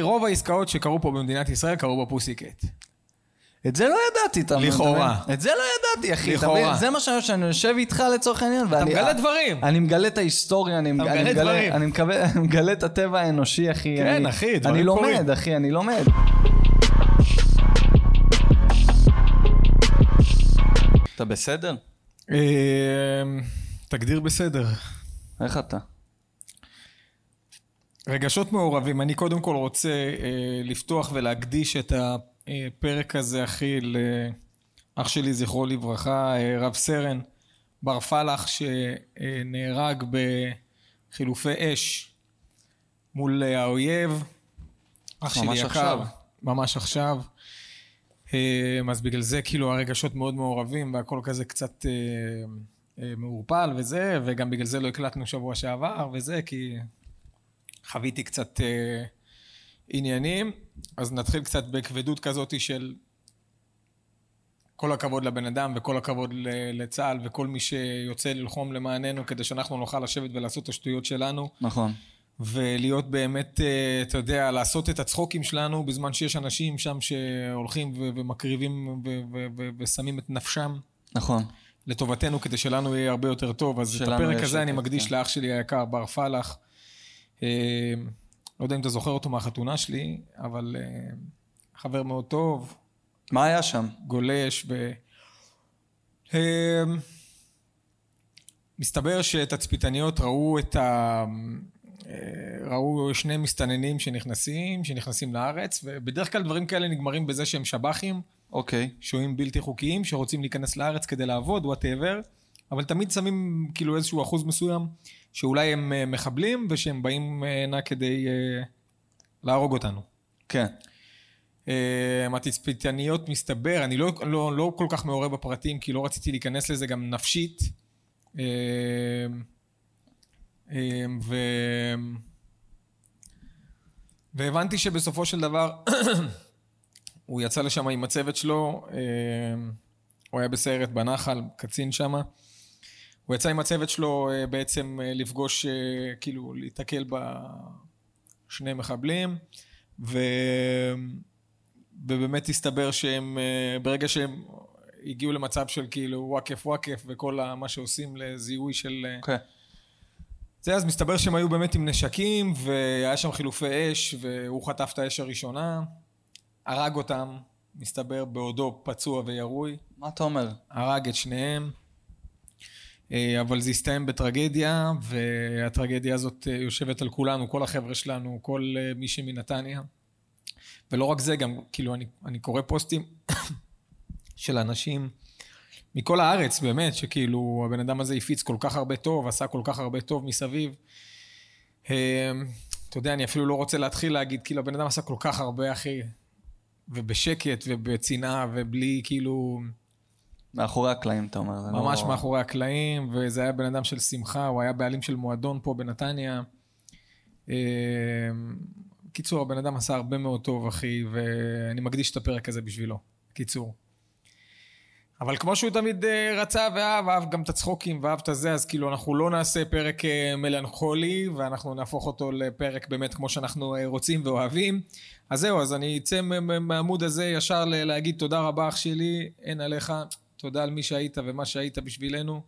רוב העסקאות שקרו פה במדינת ישראל קרו בפוסיקט. את זה לא ידעתי, אתה מבין? לכאורה. את זה לא ידעתי, אחי. אתה לכאורה. מבין? זה מה שאני חושב, שאני יושב איתך לצורך העניין, ואני... מגלה דברים. אני מגלה את ההיסטוריה, אני אתה מגלה... מגלה אני מגלה- דברים. אני מקווה- אני מגלה את הטבע האנושי, אחי. כן, אני- אחי, דברים אני קורים. לומד, אחי, אני לומד. אתה בסדר? אמ, תגדיר בסדר. איך אתה? רגשות מעורבים. אני קודם כל רוצה אה, לפתוח ולהקדיש את הפרק הזה, אחי, לאח שלי, זכרו לברכה, אה, רב סרן בר פלח, שנהרג בחילופי אש מול אה, האויב. אח שלי ממש יקר. עכשיו. ממש עכשיו. אמ, אז בגלל זה כאילו הרגשות מאוד מעורבים והכל כזה קצת אמ, אה, מעורפל וזה, וגם בגלל זה לא הקלטנו שבוע שעבר וזה, כי חוויתי קצת אה, עניינים. אז נתחיל קצת בכבדות כזאת של כל הכבוד לבן אדם וכל הכבוד ל- לצה"ל וכל מי שיוצא ללחום למעננו כדי שאנחנו נוכל לשבת ולעשות את השטויות שלנו. נכון. ולהיות באמת, אה, אתה יודע, לעשות את הצחוקים שלנו בזמן שיש אנשים שם שהולכים ו- ומקריבים ו- ו- ו- ושמים את נפשם נכון. לטובתנו כדי שלנו יהיה הרבה יותר טוב. אז את שלנו הפרק יש הזה אני יותר, מקדיש כן. לאח שלי היקר, בר פלח. אה, לא יודע אם אתה זוכר אותו מהחתונה שלי, אבל אה, חבר מאוד טוב, מה היה שם? גולש ו... אה, מסתבר שתצפיתניות ראו את ה... אה, ראו שני מסתננים שנכנסים, שנכנסים לארץ, ובדרך כלל דברים כאלה נגמרים בזה שהם שב"חים, אוקיי. שוהים בלתי חוקיים, שרוצים להיכנס לארץ כדי לעבוד, וואטאבר, אבל תמיד שמים כאילו איזשהו אחוז מסוים, שאולי הם אה, מחבלים, ושהם באים אה, הנה כדי אה, להרוג אותנו. כן. אה, התצפיתניות מסתבר, אני לא, לא, לא כל כך מעורה בפרטים, כי לא רציתי להיכנס לזה גם נפשית. אה, אה, ו... והבנתי שבסופו של דבר הוא יצא לשם עם הצוות שלו, אה, הוא היה בסיירת בנחל, קצין שמה. הוא יצא עם הצוות שלו אה, בעצם אה, לפגוש, אה, כאילו להיתקל בשני מחבלים, ו... ובאמת הסתבר שהם, אה, ברגע שהם הגיעו למצב של כאילו וואקף וואקף וכל ה- מה שעושים לזיהוי של... אה, אוקיי. זה, אז מסתבר שהם היו באמת עם נשקים, והיה שם חילופי אש, והוא חטף את האש הראשונה, הרג אותם, מסתבר, בעודו פצוע וירוי, מה אתה אומר? הרג את שניהם, אה, אבל זה הסתיים בטרגדיה, והטרגדיה הזאת אה, יושבת על כולנו, כל החבר'ה שלנו, כל אה, מי שמנתניה. ולא רק זה, גם כאילו אני, אני קורא פוסטים של אנשים מכל הארץ, באמת, שכאילו הבן אדם הזה הפיץ כל כך הרבה טוב, עשה כל כך הרבה טוב מסביב. אה, אתה יודע, אני אפילו לא רוצה להתחיל להגיד, כאילו הבן אדם עשה כל כך הרבה, אחי, ובשקט ובצנעה ובלי כאילו... מאחורי הקלעים, אתה אומר. זה לא- ממש מאחורי הקלעים, וזה היה בן אדם של שמחה, הוא היה בעלים של מועדון פה בנתניה. אה, קיצור, הבן אדם עשה הרבה מאוד טוב, אחי, ואני מקדיש את הפרק הזה בשבילו. קיצור. אבל כמו שהוא תמיד אה, רצה ואהב, אהב גם את הצחוקים ואהב את הזה, אז כאילו אנחנו לא נעשה פרק אה, מלנכולי, ואנחנו נהפוך אותו לפרק באמת כמו שאנחנו אה, רוצים ואוהבים. אז זהו, אז אני אצא מ- מ- מהעמוד הזה ישר ל- להגיד תודה רבה אח שלי, אין עליך, תודה על מי שהיית ומה שהיית בשבילנו.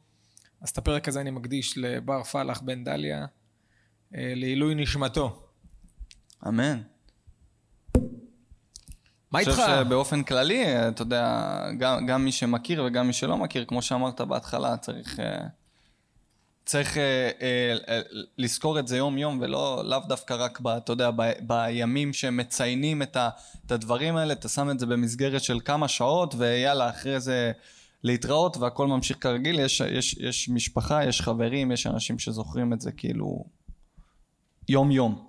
אז את הפרק הזה אני מקדיש לבר פלח בן דליה, אה, לעילוי נשמתו. אמן. מה איתך? אני חושב שבאופן כללי, אתה יודע, גם, גם מי שמכיר וגם מי שלא מכיר, כמו שאמרת בהתחלה, צריך, אה, צריך אה, אה, אה, לזכור את זה יום-יום, ולא לאו דווקא רק, ב, אתה יודע, ב, בימים שמציינים את, ה, את הדברים האלה, אתה שם את זה במסגרת של כמה שעות, ויאללה, אחרי זה להתראות, והכל ממשיך כרגיל. יש, יש, יש משפחה, יש חברים, יש אנשים שזוכרים את זה כאילו יום-יום.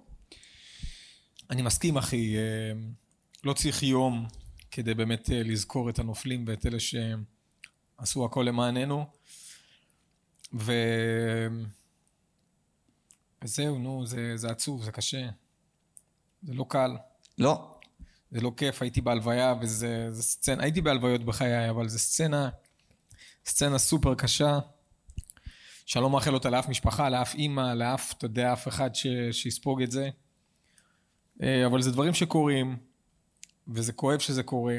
אני מסכים, אחי. אה, לא צריך יום כדי באמת אה, לזכור את הנופלים ואת אלה שעשו הכל למעננו. ו... וזהו, נו, זה, זה עצוב, זה קשה. זה לא קל, לא, זה לא כיף. הייתי בהלוויה, וזה זה סצנה... הייתי בהלוויות בחיי, אבל זו סצנה, סצנה סופר קשה, שאני לא מאחל אותה לאף משפחה, לאף אימא, לאף, אתה יודע, אף אחד ש... שיספוג את זה. אה, אבל זה דברים שקורים, וזה כואב שזה קורה.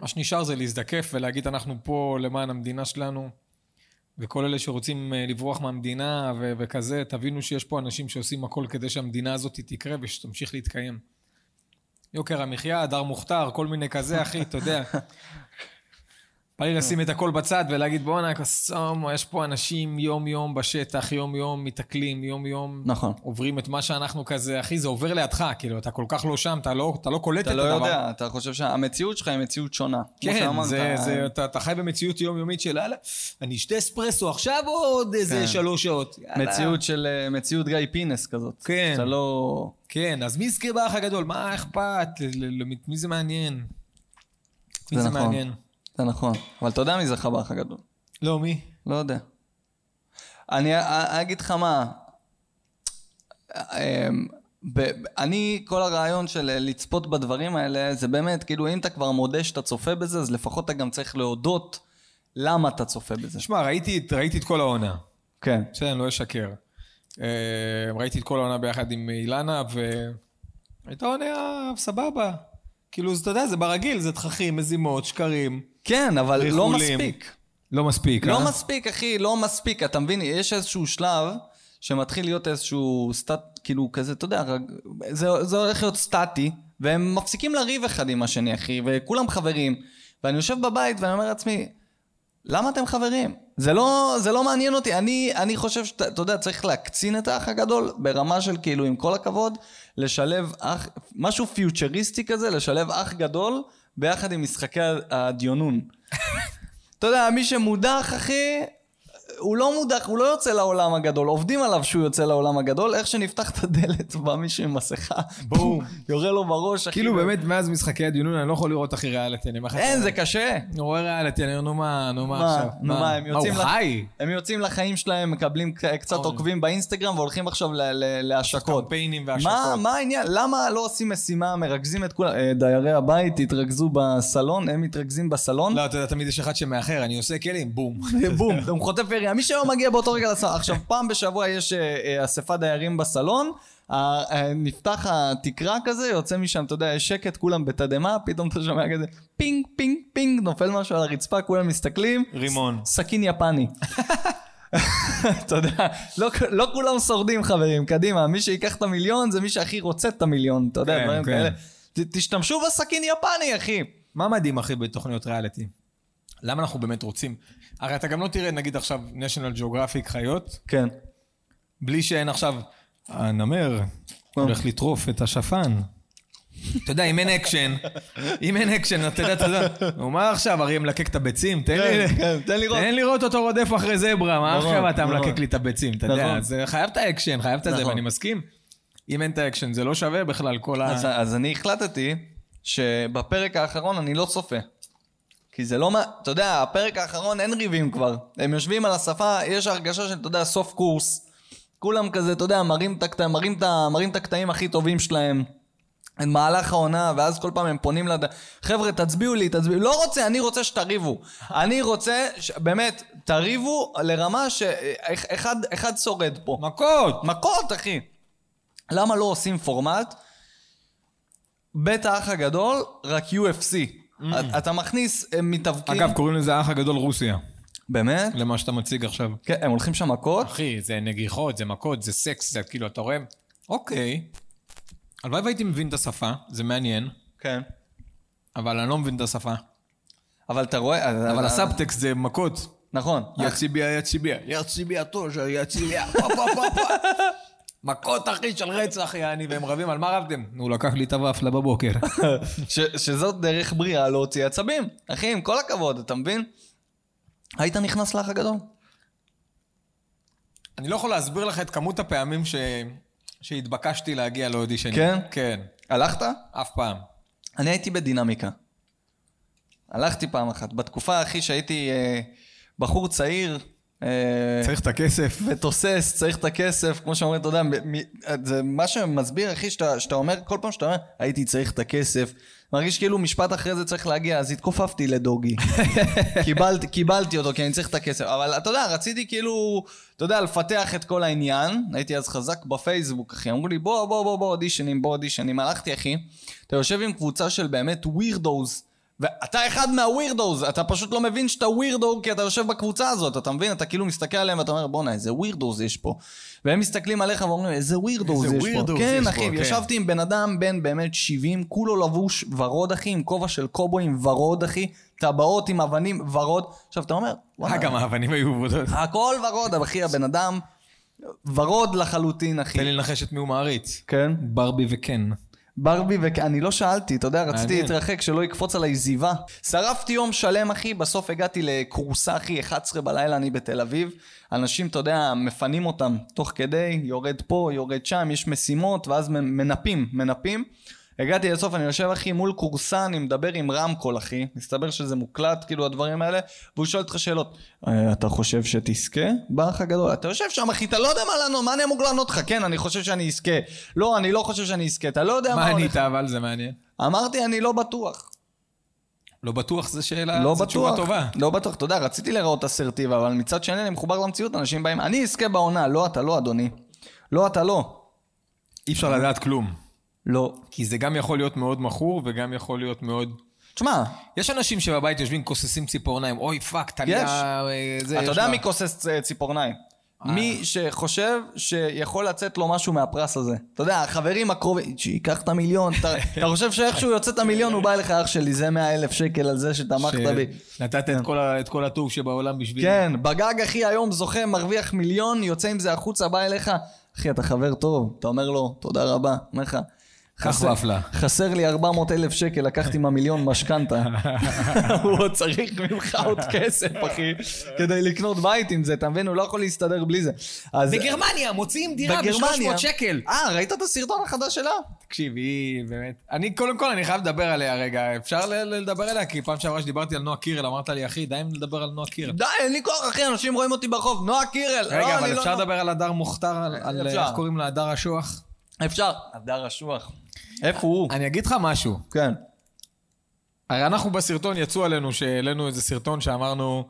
מה שנשאר זה להזדקף ולהגיד, אנחנו פה למען המדינה שלנו, וכל אלה שרוצים אה, לברוח מהמדינה ו- וכזה, תבינו שיש פה אנשים שעושים הכל כדי שהמדינה הזאת תקרה ושתמשיך להתקיים. יוקר המחיה, הדר מוכתר, כל מיני כזה, אחי, אתה יודע. בא לי לשים את הכל בצד ולהגיד, בואנה, קסום, יש פה אנשים יום-יום בשטח, יום-יום מתקלים, יום-יום נכון. עוברים את מה שאנחנו כזה, אחי, זה עובר לידך, כאילו, אתה כל כך לא שם, אתה לא, אתה לא קולט אתה את לא הדבר. יודע, אתה חושב שהמציאות שלך היא מציאות שונה. כמו כן, שאמרת, זה, אה, זה, אתה, אתה חי במציאות יומיומית של, יאללה, אני אשתה אספרסו עכשיו או עוד איזה כן. שלוש שעות? יאללה. מציאות של אה, מציאות גיא פינס כזאת. כן. אתה לא... כן, אז מי יזכה באח הגדול? מה אכפת? ל- ל- מי זה מעניין? מי זה נכון. מעניין? זה נכון. אבל אתה יודע מי זכה באח הגדול. לא, מי? לא יודע. אני א- אגיד לך מה, אמ, ב- ב- אני, כל הרעיון של אה, לצפות בדברים האלה, זה באמת, כאילו, אם אתה כבר מודה שאתה צופה בזה, אז לפחות אתה גם צריך להודות למה אתה צופה בזה. תשמע, ראיתי, את- ראיתי את כל העונה. כן. בסדר, אני לא אשקר. אה, ראיתי את כל העונה ביחד עם אילנה, והייתה עונה סבבה. כאילו, אתה יודע, זה ברגיל, זה תככים, מזימות, שקרים. כן, אבל לא ריחולים. מספיק. לא מספיק, לא מספיק, אחי, לא מספיק. אתה מבין, יש איזשהו שלב שמתחיל להיות איזשהו סטט, כאילו כזה, אתה יודע, רג- זה, זה הולך להיות סטטי, והם מפסיקים לריב אחד עם השני, אחי, וכולם חברים. ואני יושב בבית ואני אומר לעצמי, למה אתם חברים? זה לא, זה לא מעניין אותי. אני, אני חושב שאתה אתה יודע, צריך להקצין את האח הגדול ברמה של כאילו, עם כל הכבוד, לשלב אח, משהו פיוטריסטי כזה, לשלב אח גדול ביחד עם משחקי הדיונון. אתה יודע, מי שמודח, אחי, הוא לא מודח, הוא לא יוצא לעולם הגדול. עובדים עליו שהוא יוצא לעולם הגדול, איך שנפתח את הדלת, בא מישהו עם מסכה, ברור. יורה לו בראש, אחי. כאילו, באמת, מאז משחקי הדיונון אני לא יכול לראות אחי ריאליטי, אני אומר לך... אין, זה קשה. אני רואה ריאליטי, אני אומר, נו מה, נו מה מה, עכשיו? נו מה, הם יוצאים מה, לח- הוא חי? הם יוצאים לחיים שלהם, מקבלים ק- קצת אוי. עוקבים באינסטגרם והולכים עכשיו ל- ל- להשקות. קמפיינים מה, והשקות. מה העניין? למה לא עושים משימה, מרכזים את כולם? אה, דיירי הבית התרכזו בסלון, הם מתרכזים בסלון, לא, אתה יודע, תמיד יש אחד שמאחר, אני עושה כלים, בום. בום, הוא חוטף ירייה. מי שלא מגיע באותו רגע לסלון. עכשיו, פעם בשבוע יש אה, אה, אספת דיירים בסלון, ה- אה, נפתח התקרה כזה, יוצא משם, אתה יודע, יש שקט, כולם בתדהמה, פתאום אתה שומע כזה פינג, פינג, פינג, נופל משהו על הרצפה, כולם מסתכלים. רימון. סכין יפני. אתה יודע, לא, לא כולם שורדים חברים, קדימה, מי שיקח את המיליון זה מי שהכי רוצה את המיליון, אתה יודע, כן, דברים כן. כאלה. ת, תשתמשו בסכין יפני, אחי. מה מדהים, אחי, בתוכניות ריאליטי? למה אנחנו באמת רוצים? הרי אתה גם לא תראה, נגיד עכשיו, national geographic חיות, כן. בלי שאין עכשיו, הנמר כן. הולך לטרוף את השפן. אתה יודע, אם אין אקשן, אם אין אקשן, אתה יודע, אתה יודע, נו מה עכשיו, אריה מלקק את הביצים? תן לי... כן, כן, תן לראות. תן לראות אותו רודף אחרי זברה, מה נכון, עכשיו אתה נכון. מלקק לי את הביצים, אתה יודע, נכון. אז אה, חייב את האקשן, חייב את זה, נכון. ואני מסכים. אם אין את האקשן, זה לא שווה בכלל כל ה... אז, אז אני החלטתי שבפרק האחרון אני לא צופה. כי זה לא מה, אתה יודע, הפרק האחרון אין ריבים כבר. הם יושבים על השפה, יש הרגשה של, אתה יודע, סוף קורס. כולם כזה, אתה יודע, מראים את, הקט... מראים, את... ה- מראים את הקטעים הכי טובים שלהם. את מהלך העונה, ואז כל פעם הם פונים לד... חבר'ה, תצביעו לי, תצביעו. לא רוצה, אני רוצה שתריבו. אני רוצה, ש... באמת, תריבו לרמה שאחד אחד שורד פה. מכות! מכות, אחי. למה לא עושים פורמט? בית האח הגדול, רק UFC. את- אתה מכניס אה, מתאבקים... Mm. אגב, קוראים לזה האח הגדול רוסיה, באמת? למה שאתה מציג עכשיו. כן, הם הולכים שם מכות? אחי, זה נגיחות, זה מכות, זה סקס, זה כאילו, אתה רואה... אוקיי. הלוואי והייתי מבין את השפה, זה מעניין, כן. אבל אני לא מבין את השפה. אבל אתה רואה... אבל אה. אה, הסאבטקסט זה מכות. נכון. יציביה, יציביה. יציביה תוז'ה, יציביה. פה, פה, פה, פה. מכות, אחי, של רצח, יעני, והם רבים, על מה רבתם? נו, לקח לי את הוואפלה בבוקר. ש- שזאת דרך בריאה להוציא עצבים. אחי, עם כל הכבוד, אתה מבין? היית נכנס לאח הגדול? אני לא יכול להסביר לך את כמות הפעמים ש... שהתבקשתי להגיע לאודישנים. כן? כן, הלכת? אף פעם. אני הייתי בדינמיקה. הלכתי פעם אחת. בתקופה, אחי, שהייתי אה, בחור צעיר, אה, צריך את הכסף. ותוסס, צריך את הכסף, כמו שאומרים, אתה יודע, מ- מ- זה מה שמסביר, אחי, שאתה, שאתה אומר, כל פעם שאתה אומר, הייתי צריך את הכסף, מרגיש כאילו משפט אחרי זה צריך להגיע, אז התכופפתי לדוגי. קיבלתי, קיבלתי אותו, כי אני צריך את הכסף. אבל אתה יודע, רציתי כאילו, אתה יודע, לפתח את כל העניין, הייתי אז חזק בפייסבוק, אחי, אמרו לי, בוא, בוא, בוא, בוא, אודישנים, בוא, אודישנים, הלכתי, אחי, אתה יושב עם קבוצה של באמת ווירדוז. ואתה אחד מהווירדוז, אתה פשוט לא מבין שאתה ווירדו כי אתה יושב בקבוצה הזאת, אתה מבין? אתה כאילו מסתכל עליהם ואתה אומר, בואנה, איזה ווירדוז יש פה. והם מסתכלים עליך ואומרים, איזה ווירדוז איזה יש פה. weirdos כן, יש אחי, פה, ישבתי כן. ישבתי עם בן אדם בן באמת 70, כולו לבוש ורוד, אחי, עם כובע של קובוי עם ורוד, אחי, טבעות עם אבנים, ורוד. עכשיו, אתה אומר, אה, גם האבנים היו עבודות. הכל ורוד, אבל אחי, הבן אדם ורוד לחלוטין, אחי. תן לי לנחש את מי הוא מעריץ. כן? ברבי וקן. ברבי ואני לא שאלתי, אתה יודע, רציתי מעניין. להתרחק שלא יקפוץ עליי זיווה. שרפתי יום שלם, אחי, בסוף הגעתי לכורסה, אחי, 11 בלילה, אני בתל אביב. אנשים, אתה יודע, מפנים אותם תוך כדי, יורד פה, יורד שם, יש משימות, ואז מ- מנפים, מנפים. הגעתי לסוף, אני יושב, אחי, מול כורסה, אני מדבר עם רמקול, אחי. מסתבר שזה מוקלט, כאילו, הדברים האלה, והוא שואל אותך שאלות. "אה, אתה חושב שתזכה? באח הגדול. אתה יושב שם, אחי, אתה לא יודע מה לענות, מה אני אמור לענות לך? כן, אני חושב שאני אזכה. לא, אני לא חושב שאני אזכה. אתה לא יודע מה מה הולך ענית אבל? זה מעניין. אמרתי, אני לא בטוח. לא בטוח זו שאלה, לא זו תשובה בטוח. טובה. לא בטוח, אתה יודע, רציתי להיראות אסרטיב, אבל מצד שני אני מחובר למציאות, אנשים באים, אני אזכה בעונה, לא, אתה לא, אדוני. לא, אתה לא. אי אפשר לדעת כלום. לא. כי זה גם יכול להיות מאוד מכור וגם יכול להיות מאוד... תשמע, יש אנשים שבבית יושבים, כוססים ציפורניים, אוי פאק, יש. טליה... אה, זה, אה. אתה יש יודע לה- מי כוסס אה, ציפורניים? מי שחושב שיכול לצאת לו משהו מהפרס הזה. אתה יודע, החברים הקרובים, שייקח את המיליון, אתה אתה חושב שאיכשהו יוצא את המיליון, הוא בא אליך, אח שלי, זה 100 אלף שקל על זה שתמכת בי. שנתת את כל ה- את כל הטוב שבעולם בשבילי. כן, בגג אחי היום זוכה, מרוויח מיליון, יוצא עם זה החוצה, בא אליך, אחי, אתה חבר טוב. אתה אומר לו, תודה רבה, אומר לך. כך "חסר- ואפלה." חסר לי 400 אלף שקל, לקחתי מהמיליון משכנתה. הוא עוד צריך ממך עוד כסף, אחי, כדי לקנות בית עם זה, אתה מבין? הוא לא יכול להסתדר בלי זה. אז- בגרמניה מוציאים דירה בגרמניה- ב-300 שקל. אה, ראית את הסרטון החדש שלה? תקשיב, היא באמת... אני, קודם כל, אני חייב לדבר עליה רגע. אפשר ל- ל- לדבר עליה? כי פעם שעברה שדיברתי על נועה קירל, אמרת לי, אחי, די אם לדבר על נועה קירל. די, אין לי כוח, אחי, אנשים רואים אותי ברחוב, נועה קירל. לא, רגע, אני אבל לא- אפשר לדבר על הדר מוכתר, על- על אפשר. איך קוראים לה, הדר אשוח? אפשר. הדר אשוח. איפה הוא? אני אגיד לך משהו. כן. הרי אנחנו בסרטון יצאו עלינו, שהעלינו איזה סרטון שאמרנו,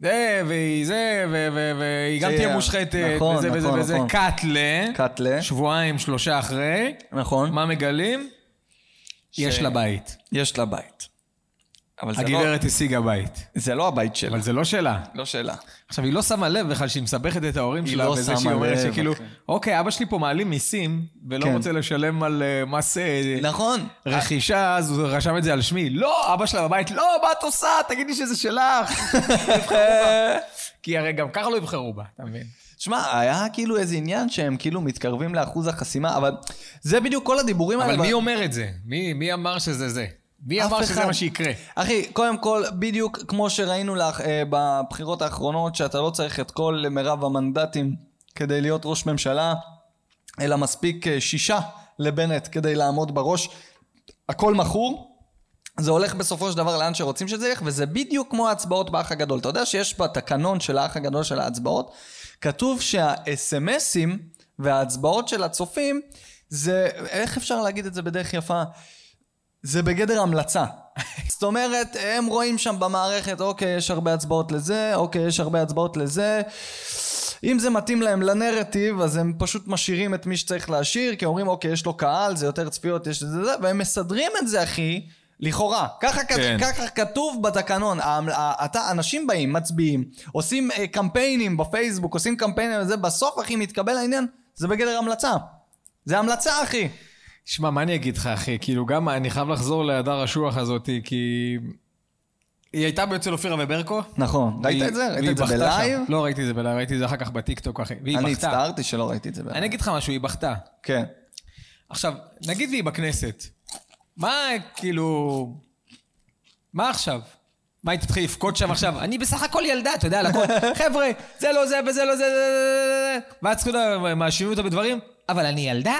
זה, והיא זה, ו- ו- והיא גם זה, תהיה מושחתת, נכון, וזה וזה נכון, וזה, נכון. קאטלה, קאטלה. שבועיים, שלושה אחרי, נכון. מה מגלים? יש לה בית. יש לה בית. אבל זה לא, הגברת השיגה בית. זה לא הבית שלה. אבל זה לא שלה. לא שלה. עכשיו, היא לא שמה לב בכלל שהיא מסבכת את ההורים היא שלה, לא וזה שמה שהיא אומרת לב, שכאילו, אחי. אוקיי, אבא שלי פה מעלים מיסים, ולא כן. רוצה לשלם על אה, מס אה, נכון. רכישה, אז הוא רשם את זה על שמי. לא, אבא שלה בבית, לא, מה את עושה? תגידי שזה שלך. יבחרו בה. כי הרי גם ככה לא יבחרו בה, אתה מבין? שמע, היה כאילו איזה עניין שהם כאילו מתקרבים לאחוז החסימה, אבל זה בדיוק כל הדיבורים האלה. אבל מי אומר את זה? מי- מי אמר שזה זה? מי אף אמר שזה אחד. מה שיקרה? אחי, קודם כל, בדיוק כמו שראינו לך, אה, בבחירות האחרונות, שאתה לא צריך את כל מרב המנדטים כדי להיות ראש ממשלה, אלא מספיק אה, שישה לבנט כדי לעמוד בראש. הכל מכור. זה הולך בסופו של דבר לאן שרוצים שזה ילך, וזה בדיוק כמו ההצבעות באח הגדול. אתה יודע שיש בתקנון של האח הגדול של ההצבעות, כתוב שהאס.אם.אסים וההצבעות של הצופים, זה, איך אפשר להגיד את זה בדרך יפה? זה בגדר המלצה. זאת אומרת, הם רואים שם במערכת, אוקיי, יש הרבה הצבעות לזה, אוקיי, יש הרבה הצבעות לזה. אם זה מתאים להם לנרטיב, אז הם פשוט משאירים את מי שצריך להשאיר, כי אומרים, אוקיי, יש לו קהל, זה יותר צפיות, יש לזה, זה, והם מסדרים את זה, אחי, לכאורה. ככה, כן. כן. ככה כתוב בתקנון. המ- ה- אתה, אנשים באים, מצביעים, עושים אה, קמפיינים בפייסבוק, עושים קמפיינים וזה, בסוף, אחי, מתקבל העניין, זה בגדר המלצה. זה המלצה, אחי. שמע, מה אני אגיד לך, אחי? כאילו, גם אני חייב לחזור להדר השוח הזאת, כי... היא הייתה אצל אופירה וברקו? נכון. ראית והיא- את זה? ראית והיא את זה בכתה בלייב? שם. לא ראיתי את זה בלייב, ראיתי את זה אחר כך בטיקטוק, אחי. והיא אני בכתה. הצטערתי שלא ראיתי את זה. אני אגיד לך משהו, היא בכתה. כן. עכשיו, נגיד והיא בכנסת, מה כאילו... מה עכשיו? מה, היא תתחיל לבכות שם עכשיו? אני בסך הכל ילדה, אתה יודע, על הכל. חבר'ה, זה לא זה וזה לא זה, זה, זה, זה, זה. ואז כאילו מאשימים אותה בדברים? אבל אני ילדה.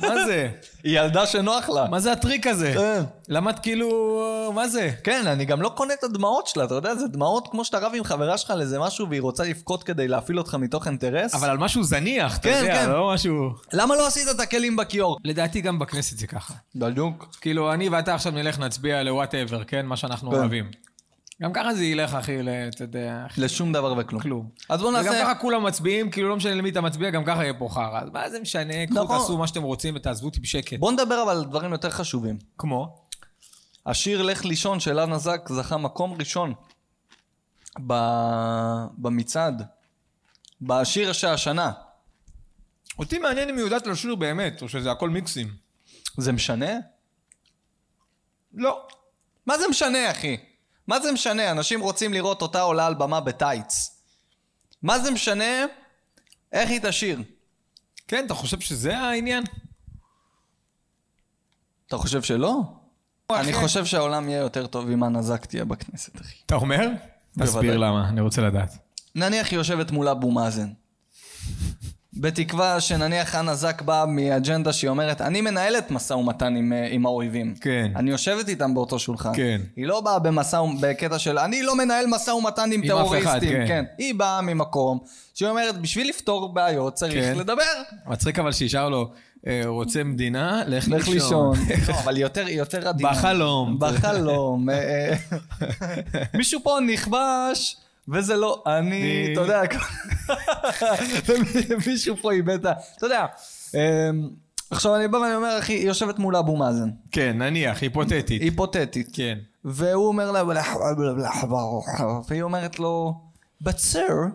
מה זה? היא ילדה שנוח לה. מה זה הטריק הזה? כן. למדת כאילו, מה זה? כן, אני גם לא קונה את הדמעות שלה, אתה יודע, זה דמעות כמו שאתה רב עם חברה שלך על איזה משהו והיא רוצה לבכות כדי להפעיל אותך מתוך אינטרס. אבל על משהו זניח, אתה כן, יודע, כן. לא משהו... למה לא עשית את הכלים בכיור? לדעתי גם בכנסת זה ככה. בדיוק. כאילו, אני ואתה עכשיו נלך נצביע לוואטאבר, כן? מה שאנחנו כן. אוהבים. גם ככה זה ילך, אחי, ל- אתה יודע, אחי, לשום דבר וכלום. כלום. אז בואו וגם נעשה... ככה כולם מצביעים, כאילו לא משנה למי אתה מצביע, גם ככה יהיה פה חרא. אז מה זה משנה? קחו, נכון. תעשו מה שאתם רוצים ותעזבו אותי בשקט. בואו נדבר אבל על דברים יותר חשובים. כמו? השיר "לך לישון" של אנה זק זכה מקום ראשון ב... במצעד. בשיר שהשנה. אותי מעניין אם היא יודעת לשיר באמת, או שזה הכל מיקסים. זה משנה? לא. מה זה משנה, אחי? מה זה משנה? אנשים רוצים לראות אותה עולה על במה בטייץ. מה זה משנה איך היא תשיר? כן, אתה חושב שזה העניין? אתה חושב שלא? אני אחי. חושב שהעולם יהיה יותר טוב אם אנה זק תהיה בכנסת, אחי. אתה אומר? תסביר בוודאי. למה, אני רוצה לדעת. נניח היא יושבת מול אבו מאזן. בתקווה שנניח חנה זק באה מאג'נדה שהיא אומרת, אני מנהלת משא ומתן עם, אה, עם האויבים. כן. אני יושבת איתם באותו שולחן. כן. היא לא באה במשא, ומ- בקטע של, אני לא מנהל משא ומתן עם אף טרוריסטים. אחד, כן. היא באה ממקום שהיא אומרת, בשביל לפתור בעיות צריך כן. לדבר. מצחיק אבל שישר לו, אה, רוצה מדינה, לך לך לישון. לישון. לא, אבל היא יותר, היא יותר עדינה. בחלום. בחלום. אה, אה. מישהו פה נכבש, וזה לא אני, אני. אתה יודע, ומי- מישהו פה איבד את ה... אתה יודע. אה, עכשיו אני בא ואני אומר, אחי, היא יושבת מול אבו מאזן, כן, נניח, היפותטית. היפותטית. כן. והוא אומר לה, והיא אומרת לו, but sir,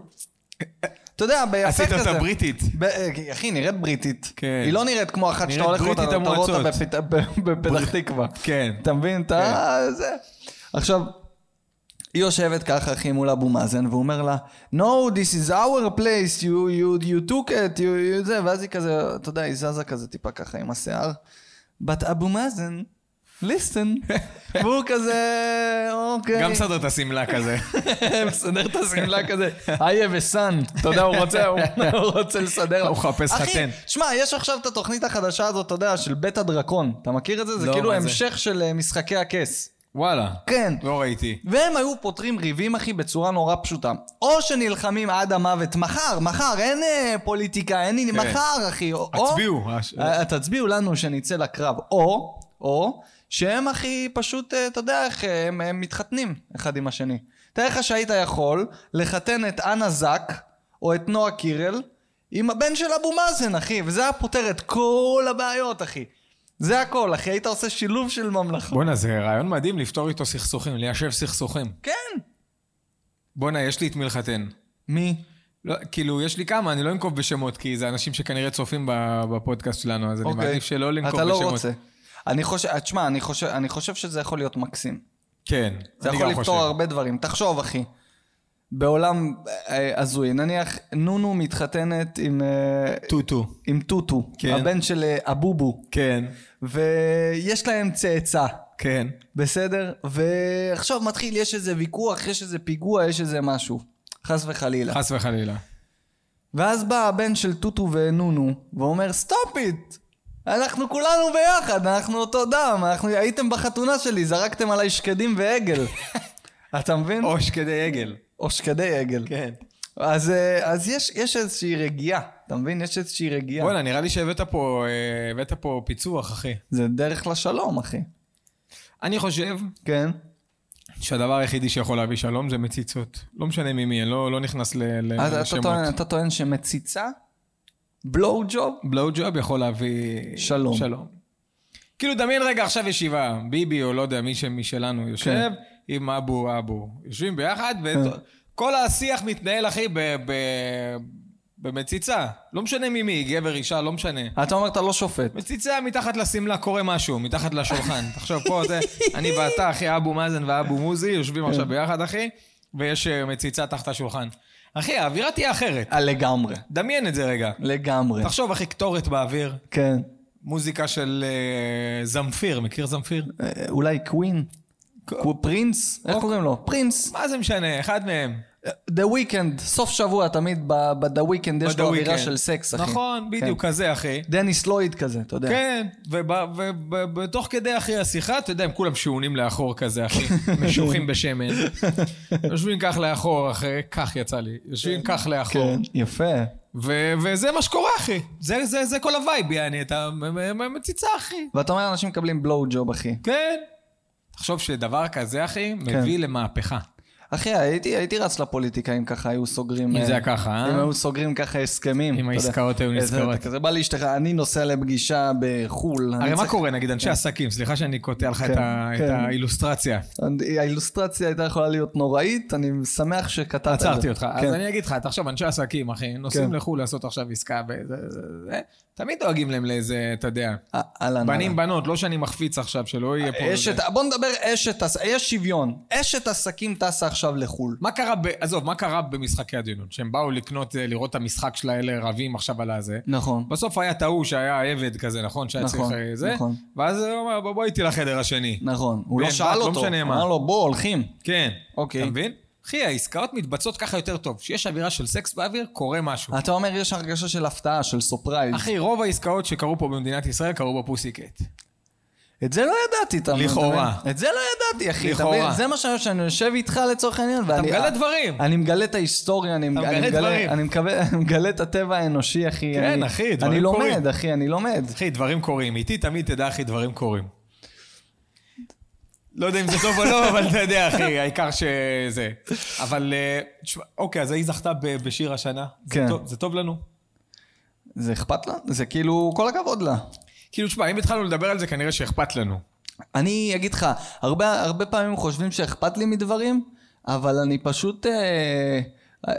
אתה יודע, ביפה עשית כזה. אותה בריטית. ב- אה, אחי, נראית בריטית. כן. היא לא נראית כמו אחת שאתה נראית הולך אותה, בריטית אתה רואה אותה המועצות. בפת- ב- בפתח תקווה. כן. אתה מבין? אתה... זה. עכשיו, היא יושבת ככה, אחי, מול אבו מאזן, והוא אומר לה, No, this is our place, you, you, you took it, you, you זה, ואז היא כזה, אתה יודע, היא זזה כזה טיפה ככה עם השיער. But אבו מאזן, listen. והוא כזה, אוקיי. גם סדר את השמלה כזה. מסדר את השמלה כזה, איה וסאן, אתה יודע, הוא רוצה, הוא הוא רוצה לסדר. לה. הוא מחפש חתן. אחי, שמע, יש עכשיו את התוכנית החדשה הזאת, אתה יודע, של בית הדרקון. אתה מכיר את זה? זה לא, כאילו מה זה? המשך של אה, משחקי הכס. וואלה. כן. לא ראיתי. והם היו פותרים ריבים, אחי, בצורה נורא פשוטה. או שנלחמים עד המוות מחר, מחר, אין אה, פוליטיקה, אין... עניין, כן. מחר, אחי. או- הצביעו. הש- אה, תצביעו לנו שנצא לקרב. או, או, שהם הכי פשוט, אה, אתה יודע איך, אה, הם, הם מתחתנים אחד עם השני. תאר לך שהיית יכול לחתן את אנה זק, או את נועה קירל, עם הבן של אבו מאזן, אחי, וזה היה פותר את כל הבעיות, אחי. זה הכל, אחי, היית עושה שילוב של ממלכה. בואנה, זה רעיון מדהים לפתור איתו סכסוכים, ליישב סכסוכים. כן. בואנה, יש לי את מי לחתן. מי? לא, כאילו, יש לי כמה, אני לא אנקוב בשמות, כי זה אנשים שכנראה צופים ב- בפודקאסט שלנו, אז אני אוקיי. מעדיף שלא לנקוב בשמות. אתה לא רוצה. אני חושב, תשמע, אני חושב, אני חושב שזה יכול להיות מקסים. כן. זה אני יכול גם לפתור חושב. הרבה דברים. תחשוב, אחי. בעולם אה, הזוי, נניח נונו מתחתנת עם, אה, טוטו. עם טוטו, כן. הבן של אה, הבובו, כן. ויש להם צאצא, כן. בסדר? ועכשיו מתחיל, יש איזה ויכוח, יש איזה פיגוע, יש איזה משהו, חס וחלילה. חס וחלילה. ואז בא הבן של טוטו ונונו, ואומר, סטופ איט! אנחנו כולנו ביחד, אנחנו אותו דם, אנחנו... הייתם בחתונה שלי, זרקתם עליי שקדים ועגל. אתה מבין? או, ראש כדי עגל. או שקדי עגל. כן. אז, אה, אז יש, יש איזושהי רגיעה, אתה מבין? יש איזושהי רגיעה. וואלה, נראה לי שהבאת פה, אה, הבאת פה פיצוח, אחי. זה דרך לשלום, אחי. אני חושב כן? שהדבר היחידי שיכול להביא שלום זה מציצות. לא משנה ממי, אני לא, לא נכנס ל- ל- אז אתה לשמות. טוען, אתה טוען שמציצה, בלואו ג'וב, בלואו ג'וב יכול להביא... שלום. שלום. כאילו, דמיין רגע עכשיו ישיבה, ביבי או לא יודע, מי שמי שלנו יושב, כן. עם אבו אבו. יושבים ביחד, וכל השיח מתנהל, אחי, ב... ב... במציצה. לא משנה ממי, גבר, אישה, לא משנה. אתה אומר אתה לא שופט. מציצה מתחת לשמלה, קורה משהו, מתחת לשולחן. תחשוב, פה זה, אני ואתה, אחי, אבו מאזן ואבו מוזי, יושבים עכשיו כן. ביחד, אחי, ויש אה, מציצה תחת השולחן. אחי, האווירה תהיה אחרת. אה, לגמרי. דמיין את זה רגע. כן. לגמרי. תחשוב, אחי, קטורת באוויר, כן. מוזיקה של אה, זמפיר, מכיר זמפיר? אה, אולי קווין? הוא פרינס? אוקיי. איך קוראים לו? פרינס. מה זה משנה, אחד מהם. The Weeknd, סוף שבוע תמיד ב-The Weeknd יש The לו אווירה Weeknd. של סקס, אחי. כן. נכון, בדיוק כזה, אחי. דניס לויד כזה, אתה יודע. כן, ובתוך כדי אחי השיחה, אתה יודע, הם כולם שעונים לאחור כזה, אחי, משוחים בשמן. יושבים כך לאחור, אחי, כך יצא לי. יושבים כן. כך לאחור. יפה. ו- וזה מה שקורה, אחי. זה- זה זה כל הווייב, יעני, אתה מ- מ- מ- מציצה, אחי. ואתה אומר, אנשים מקבלים בלואו ג'וב, אחי. כן. תחשוב שדבר כזה, אחי, כן. מביא למהפכה. אחי, הייתי, הייתי רץ לפוליטיקה אם ככה היו סוגרים... אם זה אה, היה ככה, אה? אם היו סוגרים ככה הסכמים. אם אתה יודע. העסקאות היו אה, זה- נסגרות. אתה כזה בא לאשתך, אני נוסע לפגישה בחו"ל. אני הרי מה צריך- קורה, נגיד, אנשי עסקים, סליחה שאני קוטע לך את כן, ה- את כן. האילוסטרציה. האילוסטרציה הייתה יכולה להיות נוראית, אני שמח שקטעת את זה. עצרתי אותך. כן. אז אני אגיד לך, תחשוב, אנשי עסקים, אחי, נוסעים כן. לחו"ל לעשות עכשיו עסקה, וזה- זה- זה- תמיד דואגים להם לאיזה, אתה יודע, אה, אהלן. בנים, אהלן. בנות, לא שאני מחפיץ עכשיו, שלא יהיה פה... אשת, זה. בוא נדבר אשת, עס- יש שוויון. אשת עסקים טסה עכשיו לחו"ל. מה קרה, ב- עזוב, מה קרה במשחקי הדיונות? שהם באו לקנות, אה, לראות את המשחק של האלה רבים עכשיו על הזה. נכון. בסוף היה את ההוא שהיה עבד כזה, נכון? שהיה צריך נכון, אה, זה? נכון. ואז הוא אמר, "בוא, בוא איתי לחדר השני. נכון. הוא לא בן, שאל בת, לא אותו. משנה מה. אמר לו, בוא, הולכים. כן. אוקיי. אתה מבין? אחי, העסקאות מתבצעות ככה יותר טוב. כשיש אווירה של סקס באוויר, קורה משהו. אתה אומר, יש הרגשה של הפתעה, של סופרייז. אחי, רוב העסקאות שקרו פה במדינת ישראל קרו בפוסי קט. את זה לא ידעתי, אתה מבין? לכאורה. את זה לא ידעתי, אחי. אתה לכאורה. מבין? זה מה שאני שאני יושב איתך לצורך העניין, ואני... אה, אתה מגלה דברים. אני מגלה את ההיסטוריה, אני אתה מגלה אני דברים. אני מקבל- אני מגלה את הטבע האנושי, אחי. כן, אני- אחי, דברים אני לומד, קורים. אחי, אני לומד. אחי, דברים קורים. איתי תמיד תדע, אחי, דברים קורים. לא יודע אם זה טוב או לא, אבל אתה יודע, אחי, העיקר שזה. אבל, אה, תשמע, אוקיי, אז היא זכתה ב- בשיר השנה. זה כן. טוב- זה טוב לנו? זה אכפת לה? זה כאילו, כל הכבוד לה. כאילו, תשמע, אם התחלנו לדבר על זה, כנראה שאכפת לנו. אני אגיד לך, הרבה, הרבה פעמים חושבים שאכפת לי מדברים, אבל אני פשוט... אה, אה,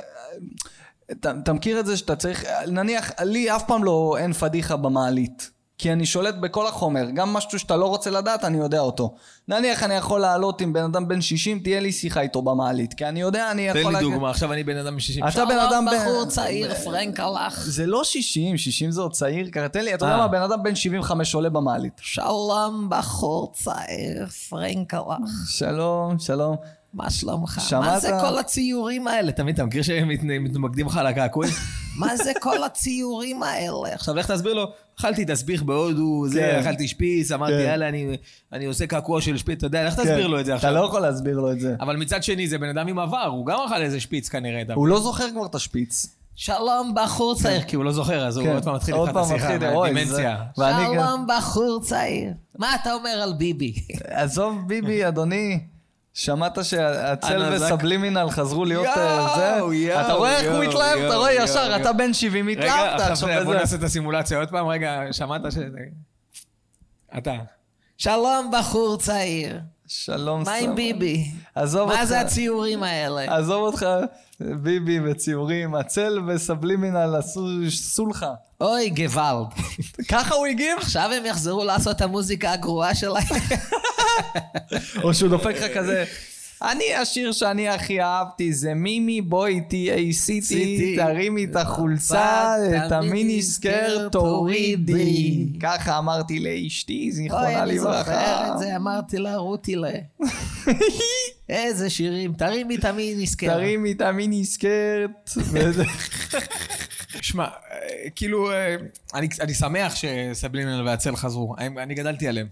אתה אתה מכיר את זה שאתה צריך... נניח, לי אף פעם לא אין פדיחה במעלית. כי אני שולט בכל החומר, גם משהו שאתה לא רוצה לדעת, אני יודע אותו. נניח אני יכול לעלות עם בן אדם בן 60, תהיה לי שיחה איתו במעלית, כי אני יודע, אני יכול... תן לי להגיד- דוגמה, עכשיו אני בן אדם מ-60. אתה בן אדם בן... בחור צעיר, פרנק הלך. זה לא 60, 60 זה עוד צעיר, ככה תן לי, אתה יודע אה. מה, בן אדם בן 75 עולה במעלית. שלום, בחור צעיר, פרנק הלך. שלום, שלום. מה שלומך? שמעת? מה זה כל הציורים האלה? תמיד אתה מכיר שהם מת- מתמקדים לך על הקעקועים? מה זה כל הציורים האלה? עכשיו לך תסביר לו, אכלתי תסביך בהודו, זה, כן. אכלתי שפיץ, אמרתי, כן. יאללה, אני- אני עושה קעקוע של שפיץ, אתה יודע, לך תסביר כן. לו את זה אתה לא עכשיו. יכול להסביר לו את זה. אבל מצד שני, זה בן אדם עם עבר, הוא גם אכל איזה שפיץ כנראה. אתה הוא לא זוכר כבר את השפיץ. שלום, בחור צעיר. כי הוא לא זוכר, אז הוא עוד פעם מתחיל כן. עוד איתך את פעם השיחה, מתחיל, אוי, מהדימנציה. זה- ואני גם- שלום, בחור צעיר. מה אתה אומר על ביבי? עזוב ביבי, אדוני. שמעת שהצל אנא זק. וסבלימינל חזרו להיות יואו, אה, זה? יואו, אתה רואה איך הוא יואו, התלהב? אתה יואו, רואה יואו, ישר, יואו. אתה בן 70, רגע, התלהבת עכשיו עכשיו בוא בזה. נעשה את הסימולציה עוד פעם, רגע, שמעת ש... אתה. שלום, בחור צעיר. שלום מה עם סבא. ביבי? עזוב מה זה אותך. הציורים האלה? עזוב אותך, ביבי וציורים, הצל וסבלימינל עשו סולחה. אוי, גוואלד. ככה הוא הגיב? עכשיו הם יחזרו לעשות את המוזיקה הגרועה שלהם? או שהוא דופק לך כזה... אני, השיר שאני הכי אהבתי זה מימי, בואי תהיי סיטי, סיטי. תרימי את החולצה, תמיד את המיני סקרט סקרט תורידי. תורידי. ככה אמרתי לאשתי, אוי, זיכרונה אני זוכר לברכה. את זה, אמרתי לה, רוטילה. איזה שירים, תרימי תמיד נזכר. תרימי את המיני סקרט. וזה- שמע, אה, כאילו, אה, אני אני שמח שסבלימינל והצל חזרו. אני- אני גדלתי עליהם.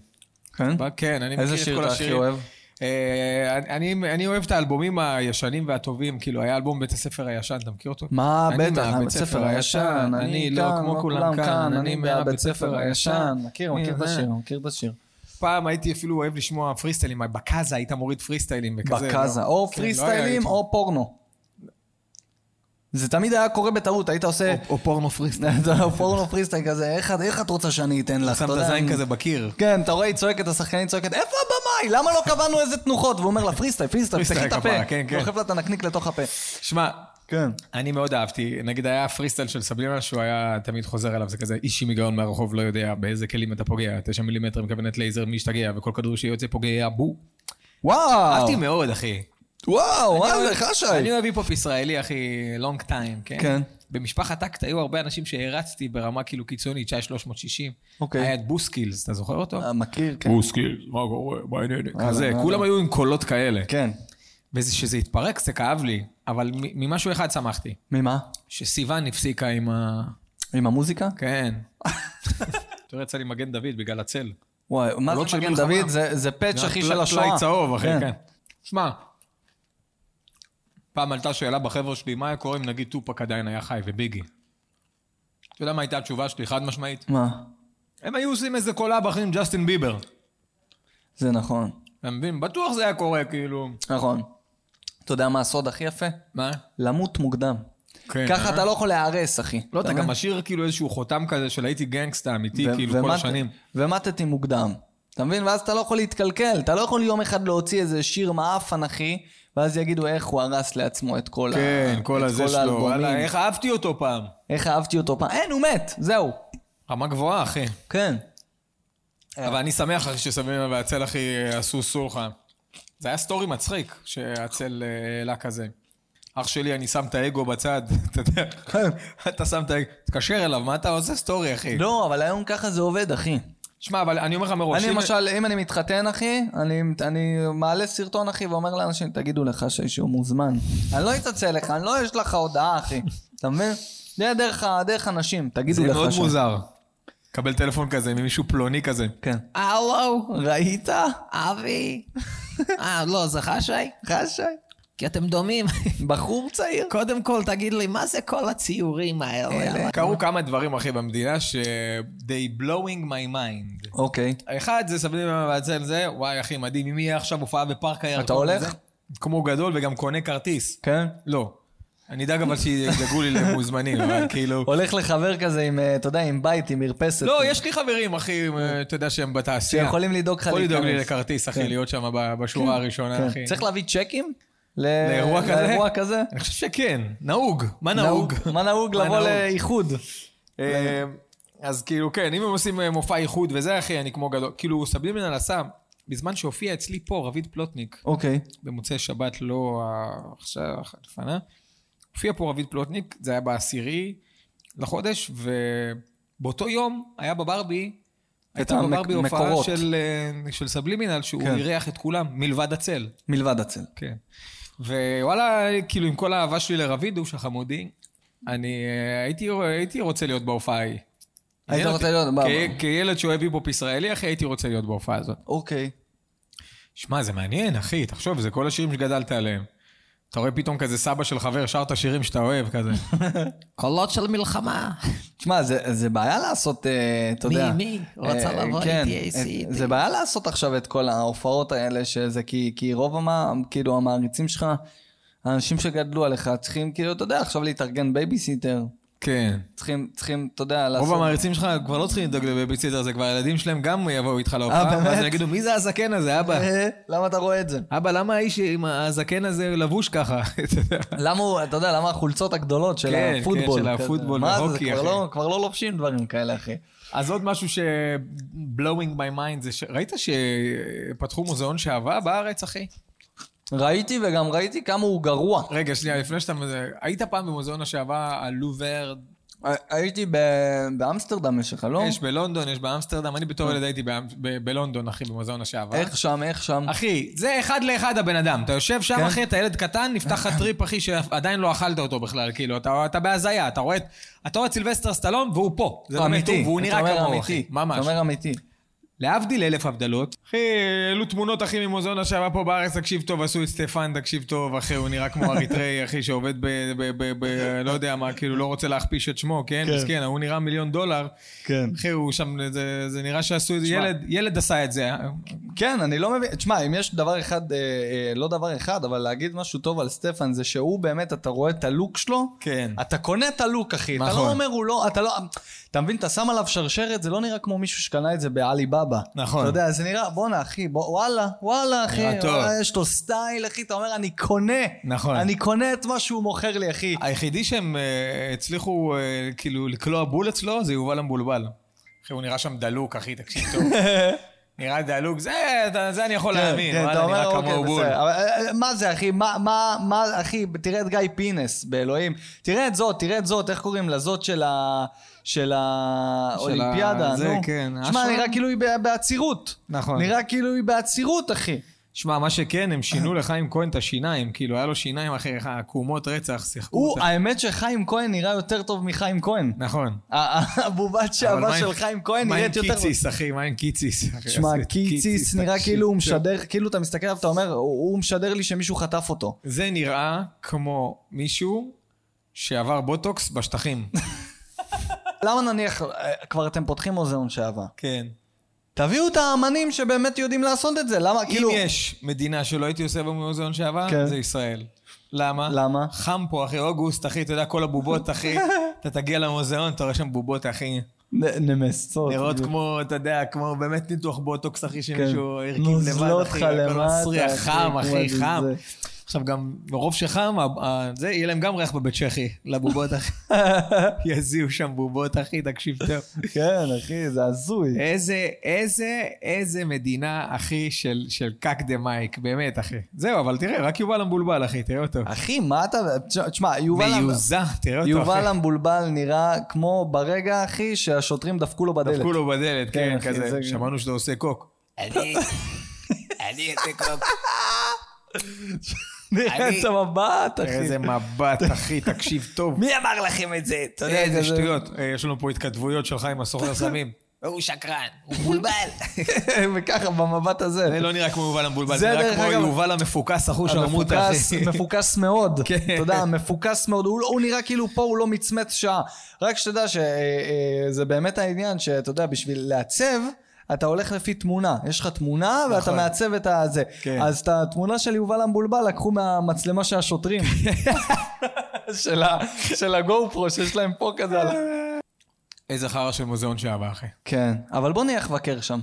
כן, אני מכיר איזה את שיר כל אתה הכי השירים. אוהב? אה, אני, אני אוהב את האלבומים הישנים והטובים, כאילו היה אלבום בית הספר הישן, אתה מכיר אותו? מה, אני בטח, מהבית הבית ספר הישן, אני לא כמו כולם כאן, אני מהבית ספר הישן. מכיר, אני מכיר את זה. השיר, מכיר את השיר. פעם הייתי אפילו אוהב לשמוע פריסטיילים, בקאזה היית מוריד פריסטיילים וכזה. בקאזה, לא? או כן, פרי לא היה סטיילים לי- או פורנו. זה תמיד היה קורה בטעות, היית עושה... או פורנו פריסטייל. אתה יודע, פורנו פרי סטייל כזה, "איך את- איך את רוצה שאני אתן לך? שם אתה את יודע, הזין אני- כזה בקיר. כן, אתה רואה, היא צועקת, השחקנית צועקת, איפה הבמאי? למה לא קבענו איזה תנוחות? והוא אומר לה, פרי סטייל, פרי סטייל, פתחי פריסטייל את כפרה, הפה. כן, כן. דוחף לה את הנקניק לתוך הפה. שמע, כן. אני מאוד אהבתי, נגיד היה פריסטייל של סבלימינל שהוא היה תמיד חוזר אליו, זה כזה איש עם היגיון מהרחוב לא יודע באיזה כלים אתה פוגע, 9 מילימטר מכוונת לייזר, מי ישתגע, וכל כדור שיוצא פוגע בו. וואו! אהבתי מאוד, אחי. וואו, אני מה אוהב- זה, חשי? אני אוהב היפ-הופ ישראלי, אחי, לונג טיים, כן? כן. במשפחת טקט היו הרבה אנשים שהערצתי ברמה כאילו קיצונית, שהיה 360. אוקיי. היה את בוסקילס, אתה זוכר אותו? אה, מכיר, כן. בוסקילס, מה קורה? מה העניינים? אה, כזה, אה, כולם אה. היו עם קולות כאלה. כן. וכשזה התפרק זה כאב לי, אבל מ- ממשהו אחד שמחתי. ממה? שסיוון הפסיקה עם ה... עם המוזיקה? כן. תראה, יצא לי מגן דוד בגלל הצל. וואי, מה קולות זה של מגן מלחמה. דוד? זה- זה פאץ' אחי של טלאי השואה. צהוב, אחי, כן. שמע, פעם עלתה שאלה בחבר'ה שלי, מה היה קורה אם נגיד טופק עדיין היה חי וביגי? אתה יודע מה הייתה התשובה שלי, חד משמעית? מה? הם היו עושים איזה קולאב אחי עם ג'סטין ביבר. זה נכון. אתה מבין? בטוח זה היה קורה, כאילו... נכון. אתה יודע מה הסוד הכי יפה? מה? למות מוקדם. כן. ככה אתה לא יכול להיהרס, אחי. לא, אתה מבין? גם משאיר כאילו איזשהו חותם כזה של הייתי גנגסטה אמיתי, ו- כאילו, כל ומת- השנים. ומטתי מוקדם. אתה מבין? ואז אתה לא יכול להתקלקל. אתה לא יכול יום אחד להוציא איזה שיר מעפן, אחי, ואז יגידו איך הוא הרס לעצמו את כל ה... כן, כל את הזה שלו. האלבומים. וואלה, איך אהבתי אותו פעם. איך אהבתי אותו פעם. אין, הוא מת, זהו. רמה גבוהה, אחי. כן. אבל אני שמח, אחי, שסביבה והצל, אחי, אה, עשו סולחה. זה היה סטורי מצחיק שהצל אה, העלה כזה. אח שלי, אני שם את האגו בצד, אתה יודע. אתה שם את האגו, תתקשר אליו, מה אתה עושה סטורי, אחי? כן. לא, אבל היום ככה זה עובד, אחי. שמע, אבל אני אומר לך מראש, אני אם- למשל, אם אני מתחתן, אחי, אני, אני מעלה סרטון, אחי, ואומר לאנשים, תגידו לך שהוא מוזמן. אני לא אצלצל לך, אני לא יש לך הודעה, אחי. אתה מבין? זה דרך, ה- דרך אנשים, תגידו זה לך מאוד ש- מוזר. קבל טלפון כזה ממישהו פלוני כזה. כן. הלו, ראית? אבי. אה, לא, זה חשי? חשי? כי אתם דומים. בחור צעיר? קודם כל, תגיד לי, מה זה כל הציורים האלה? קרו כמה דברים, אחי, במדינה ש... They blowing my mind. אוקיי. האחד זה סבלים והצל זה, וואי אחי מדהים, אם יהיה עכשיו הופעה בפארק הירקון. אתה הולך? וזה, כמו גדול וגם קונה כרטיס. כן. לא. אני אדאג אבל שידאגו לי למוזמנים, אבל כאילו... הולך לחבר כזה עם, אה, אתה יודע, עם בית, עם מרפסת. לא, יש לי חברים, אחי, אה, אתה יודע שהם בתעשייה. שיכולים לדאוג לך יכול לדאוג לי להיכנס. לכרטיס, אחי, כן. להיות שם ב- בשורה הראשונה, אחי. כן. צריך להביא צ'קים? ל- לאירוע כזה? לאירוע כזה? אני חושב שכן, נהוג. מה נהוג? מה נהוג מה לבוא נהוג? לאיחוד? אה, אז כאילו, כן, אם הם עושים אה, מופע איחוד וזה, אחי, אני כמו גדול. כאילו, סבלים מן על הסם, בזמן שהופיע אצלי פה רביד פלוטניק, אוקיי. במוצאי שבת, לא ה- עכשיו, לפנה. הופיע פה רביד פלוטניק, זה היה בעשירי לחודש, ובאותו יום היה בברבי, הייתה המק- בברבי הופעה מקורות. של, אה, של סבלימינל, שהוא כן. אירח את כולם, מלבד הצל. מלבד הצל. כן. ווואלה, כאילו, עם כל האהבה שלי לרביד, הוא שחמודי, אני אה, הייתי, הייתי רוצה להיות בהופעה ההיא. היית עניין רוצה אותי- להיות בה- כ- כילד שאוהב היפ-הופ ישראלי, אחי, הייתי רוצה להיות בהופעה הזאת. אוקיי. שמע, זה מעניין, אחי, תחשוב, זה כל השירים שגדלת עליהם. אתה רואה פתאום כזה סבא של חבר שר את השירים שאתה אוהב, כזה. קולות של מלחמה. תשמע, זה, זה בעיה לעשות, אה, אתה מי- יודע... מי רוצה אה, לבוא כן, איתי, איתי, אה, איתי? זה בעיה לעשות עכשיו את כל ההופעות האלה, שזה כי, כי רוב המה, כאילו, המעריצים שלך, האנשים שגדלו עליך, צריכים, כאילו, אתה יודע, עכשיו להתארגן בייביסיטר. כן. צריכים, צריכים, אתה יודע, לעשות... רוב המעריצים שלך כבר לא צריכים לדאוג לבייביסיטר, זה כבר הילדים שלהם גם יבואו איתך אה, להופעה, באמת? ואז הם יגידו, מי זה הזקן הזה, אבא? אה, למה אתה רואה את זה? אבא, למה האיש עם הזקן הזה לבוש ככה? אתה יודע. למה הוא, אתה יודע, למה החולצות הגדולות של כן, כן, הפוטבול? של כזה? הפוטבול מה זה, וההוקי, זה כבר אחי. לא- כבר לא לובשים דברים כאלה, אחי. אז עוד משהו ש... blowing my mind זה ש... ראית שפתחו מוזיאון שעבה בארץ, אחי? ראיתי וגם ראיתי כמה הוא גרוע. רגע, שנייה, לפני שאתה... היית פעם במוזיאון השעבה, הלובר, ה- הייתי ב- באמסטרדם יש לך, לא? אה, יש בלונדון, יש באמסטרדם, אני בתור ילד הייתי באמ- ב- בלונדון, אחי, במוזיאון השעבר. איך שם, איך שם? אחי, זה אחד לאחד הבן אדם. אתה יושב שם, כן. אחי, אתה ילד קטן, נפתח לך טריפ, אחי, שעדיין לא אכלת אותו בכלל, כאילו, אתה אתה בהזיה, אתה רואה את אתה רואה את סילבסטר סטלון, והוא פה. זה לא אמיתי. מטוב, והוא אתה נראה אומר כמוהו, אמיתי. אחי. ממש. אתה אומר אמיתי. להבדיל אלף הבדלות. אחי, העלו תמונות, אחי, ממוזיאון השעבה פה בארץ, תקשיב טוב, עשו את סטפן, תקשיב טוב, אחי, הוא נראה כמו אריתראי, אחי, שעובד ב... ב- ב- ב- לא יודע מה, כאילו, לא רוצה להכפיש את שמו, כן? כן. מסכן, ההוא נראה מיליון דולר. כן. אחי, הוא שם, זה, זה נראה שעשו את זה, שמע. ילד, ילד עשה את זה. אה? כן, אני לא מבין. תשמע, אם יש דבר אחד, אה, אה, לא דבר אחד, אבל להגיד משהו טוב על סטפן, זה שהוא באמת, אתה רואה את הלוק שלו, כן. אתה קונה את הלוק, אחי. אתה נכון. לא אומר, הוא לא, אתה לא... אתה מבין, אתה שם עליו שרשרת, זה לא נראה כמו מישהו שקנה את זה בעלי בבא. נכון. אתה יודע, זה נראה, בואנה, אחי, בוא, וואלה, וואלה, אחי. נראה טוב. וואלה, יש לו סטייל, אחי, אתה אומר, אני קונה. נכון. אני קונה את מה שהוא מוכר לי, אחי. היחידי שהם אה, הצליחו, אה, כאילו, לקלוע בול אצלו, זה יובל המבולבל. אחי, הוא נראה שם דלוק, אחי, תקשיב טוב. נראה דלוק, זה, אתה- זה אני יכול להאמין, כן, אתה וואלה, נראה אומר, אוקיי, כמוהו בול. בסדר. אבל, אה, מה זה, אחי? מה, מה, מה, אחי? תראה את גיא פינס, באלוהים. תראה את זאת, תראה את זאת, איך קוראים לה? זאת של ה... של האולימפיאדה, זה, נו. כן, שמע, אשרם? נראה כאילו היא ב- בעצירות. נכון. נראה כאילו היא בעצירות, אחי. שמע, מה שכן, הם שינו לחיים כהן את השיניים, כאילו, היה לו שיניים אחרי עקומות רצח, שיחקו הוא, אותה. האמת שחיים כהן נראה יותר טוב מחיים כהן. נכון. ה- ה- הבובת אבל מה שעבה עם- של חיים כהן מה עם נראית יותר... קיציס, אחי, מה עם קיציס? אחי, שמע, עשו את קיציס נראה תקשיב, כן. כאילו הוא טוב. משדר, כאילו אתה מסתכל עליו, אתה אומר, הוא הוא משדר לי שמישהו חטף אותו. זה נראה כמו מישהו שעבר בוטוקס בשטחים. למה נניח, אה, כבר אתם פותחים מוזיאון שעבה? כן. תביאו את האמנים שבאמת יודעים לעשות את זה, למה, אם כאילו... יש מדינה שלא הייתי עושה במוזיאון כן. שעבר, זה ישראל. למה? למה? חם פה, אחי, אוגוסט, אחי, אתה יודע, כל הבובות, אחי. אתה תגיע למוזיאון, אתה רואה שם בובות, אחי. נ- נמסות. נראות בדיוק. כמו, אתה יודע, כמו באמת ניתוח בוטוקס, אחי, שמישהו הרכיב נוזלות לבד, לך אחי, הכל למטה, מסריח, אחי, חם, כמו אחי, איזה חם. זה. עכשיו גם, מרוב שחם, ה- ה- זה, יהיה להם גם ריח בבית צ'כי, לבובות, אחי. יזיעו שם בובות, אחי, תקשיב טוב. כן, אחי, זה הזוי. איזה, איזה, איזה מדינה, אחי, של, של קאק דה מייק, באמת, אחי. זהו, אבל תראה, רק יובל המבולבל, אחי, תראה אותו. אחי, מה אתה... תשמע, תשמע, יובל... מיוזע, תראה אותו, יובל אחי. המבולבל נראה כמו ברגע, אחי, שהשוטרים דפקו לו בדלת. דפקו לו בדלת, כן, כן, אחי, זה- כזה. שמענו שאתה עושה קוק. אני, אני אעשה קוק. נראה אני- את המבט, תראה אחי. איזה מבט, אחי, תקשיב טוב. מי אמר לכם את זה? אתה יודע, איזה כזה- שטויות. אה, יש לנו פה התכתבויות שלך עם הסוחר סמים. הוא שקרן, הוא מבולבל. וככה, במבט זה הזה. לא נראה כמו יובל המבולבל, זה זה נראה דרך כמו אגב- יובל המפוקס, אחוש הרמוטה, המפוקס, אחי. מפוקס מאוד, אה, כן. אתה יודע, מפוקס מאוד, הוא, לא- הוא נראה כאילו פה הוא לא מצמץ שעה. רק שתדע שזה באמת העניין שאתה יודע, בשביל לעצב, אתה הולך לפי תמונה. יש לך תמונה ואתה נכון. מעצב את הזה. כן. אז את התמונה של יובל המבולבל לקחו מהמצלמה של השוטרים. של, ה, של הגו פרו שיש להם פה כזה. על... ה- איזה חרא של מוזיאון שעבר, אחי. כן, אבל בוא נלך לבקר שם.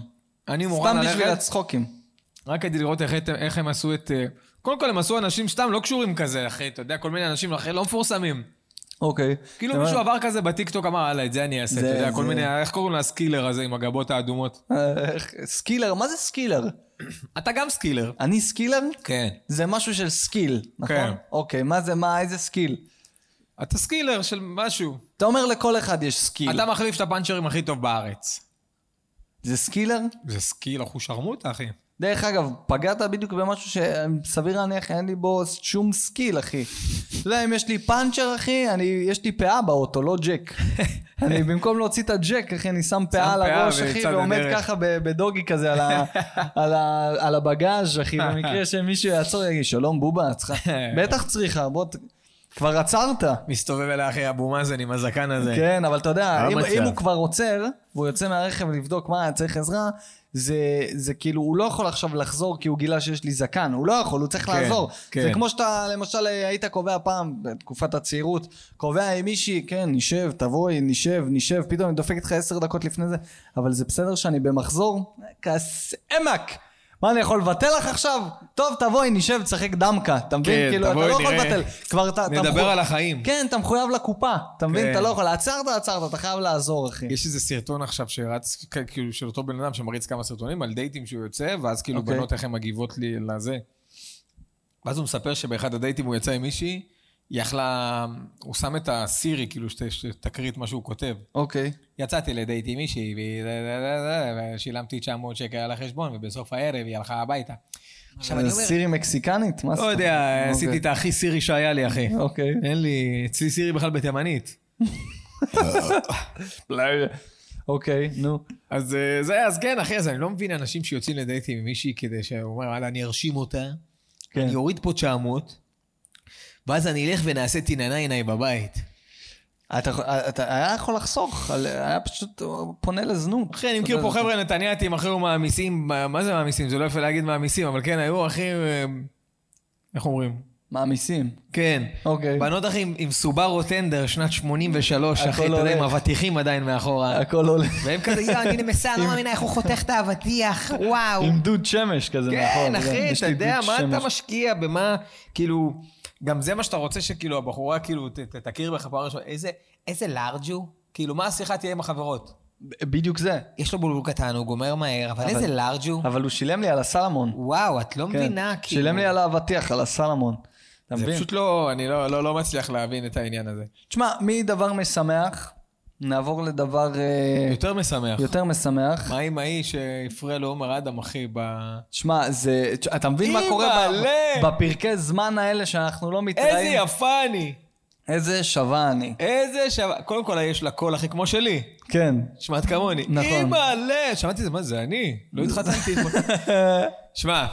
אני מוכן סתם בשביל ללכת, הצחוקים. רק כדי לראות איך- איך הם עשו את... אה, קודם כל, הם עשו אנשים סתם לא קשורים כזה, אחי, אתה יודע, כל מיני אנשים אחי לא מפורסמים. אוקיי. כאילו אתה מישהו אומר- עבר כזה בטיקטוק, אמר, "הלאה, את זה אני אעשה, זה- אתה יודע, כל זה- מיני, איך קוראים לסקילר הזה עם הגבות האדומות? אה, סקילר, מה זה סקילר? אתה גם סקילר. אני סקילר? כן. זה משהו של סקיל, נכון? כן. אוקיי, מה זה, מה, איזה סקיל? אתה סקילר של משהו. אתה אומר לכל אחד יש סקיל. אתה מחליף את הפאנצ'רים הכי טוב בארץ. זה סקילר? זה סקיל אחושרמוטה, אחי. דרך אגב, פגעת בדיוק במשהו שסביר להניח אין לי בו שום סקיל, אחי. אתה יודע, אם יש לי פאנצ'ר, אחי, אני, יש לי פאה באוטו, לא ג'ק. אני במקום להוציא את הג'ק, אחי, אני שם פאה על פאה הראש, אחי, בצד ועומד הדרך. ככה ב- בדוגי כזה על, ה, על, ה, על הבגאז', אחי, במקרה שמישהו יעצור, יגיד, שלום, בובה, את צריכה... בטח צריכה, בוא... ת- כבר עצרת. מסתובב אל אחי אבו מאזן עם הזקן הזה. כן, אבל אתה יודע, לא אם, מצב. אם הוא כבר עוצר, והוא יוצא מהרכב לבדוק מה, צריך עזרה, זה, זה כאילו, הוא לא יכול עכשיו לחזור כי הוא גילה שיש לי זקן, הוא לא יכול, הוא צריך כן, לעזור. כן. זה כמו שאתה, למשל, היית קובע פעם, בתקופת הצעירות, קובע עם מישהי, כן, נשב, תבואי, נשב, נשב, פתאום אני דופק איתך עשר דקות לפני זה, אבל זה בסדר שאני במחזור? כסאמק! מה, אני יכול לבטל לך עכשיו? טוב, תבואי, נשב, תשחק דמקה, אתה מבין? כן, כאילו, אתה תבואי, לא יכול נראה. לבטל. כבר אתה... אתה נדבר מחו- על החיים. כן, אתה מחויב לקופה, אתה מבין? כן. אתה לא יכול, עצרת, עצרת, אתה חייב לעזור, אחי. יש איזה סרטון עכשיו שרץ, כ- כאילו, של אותו בן אדם שמריץ כמה סרטונים על דייטים שהוא יוצא, ואז כאילו אוקיי. בנות איך הן מגיבות לי לזה. ואז הוא מספר שבאחד הדייטים הוא יצא עם מישהי, היא יכלה, הוא שם את הסירי, כאילו, שת- שתקריא את מה שהוא כותב. אוקיי. יצאתי לדייט עם מישהי, והיא- זה- זה- זה- זה, ושילמתי 900 שקל על החשבון, ובסוף הערב היא הלכה הביתה. עכשיו אני זה אומר, אה, סירי מקסיקנית? מה לא זאת יודע, אומרת? עשיתי את הכי סירי שהיה לי, אחי. אוקיי. אין לי, אצלי סירי בכלל בתימנית. אוקיי, נו. אז אה, זה, אז כן, אחי, אז אני לא מבין אנשים שיוצאים לדייטים עם מישהי כדי שהוא אומר, וואלה, אני ארשים אותה, כן. אני אוריד פה 900, ואז אני אלך ונעשה תיננה עיניי בבית. אתה יכול- אתה היה יכול לחסוך, על- היה פשוט פונה לזנות. אחי, אני אתה מכיר יודע, פה זה- חבר'ה נתניאתים, אחי, הוא מעמיסים, מה- מה זה מעמיסים? זה לא יפה להגיד מעמיסים, אבל כן, היו אחי, אה, איך אומרים? מעמיסים. כן. אוקיי. בנות אחי עם- עם סובארו טנדר, שנת 83, הכל אחי, אתה יודע, עם הולך. אבטיחים עדיין מאחורה. הכל עולה. והם כזה, יואו, אני נמסה, לא מאמינה איך הוא חותך את האבטיח, וואו. עם דוד שמש כזה מאחור. כן, אחי, יש אתה לי יודע, דוד מה שמש. אתה משקיע, במה, כאילו, גם זה מה שאתה רוצה שכאילו הבחורה כאילו ת- ת- תכיר בך פעם ראשונה, איזה- איזה לארג' הוא? כאילו, מה השיחה תהיה עם החברות? בדיוק זה. יש לו בולבול קטן, הוא גומר מהר, אבל איזה לארג' הוא. אבל הוא שילם לי על הסלמון. וואו, את לא כן. מבינה, כאילו. שילם לי על האבטיח, על הסלמון. אתה זה מבין? פשוט לא, אני לא, לא, לא מצליח להבין את העניין הזה. תשמע, מדבר משמח, נעבור לדבר אה, כן. יותר משמח. יותר משמח. מה עם האיש שהפריע לו עומר אדם, אחי, ב... תשמע, זה... תש- אתה מבין מה קורה ב- אימא'לה! בפרקי זמן האלה שאנחנו לא מתראים? איזה יפה אני! איזה שווה אני. איזה שווה... קודם כל, יש לה קול, אחי, כמו שלי. כן. שמעת כמוני. נכון. אימא'לה! שמעתי את זה, מה זה, אני? לא התחתנתי אתמול. שמע,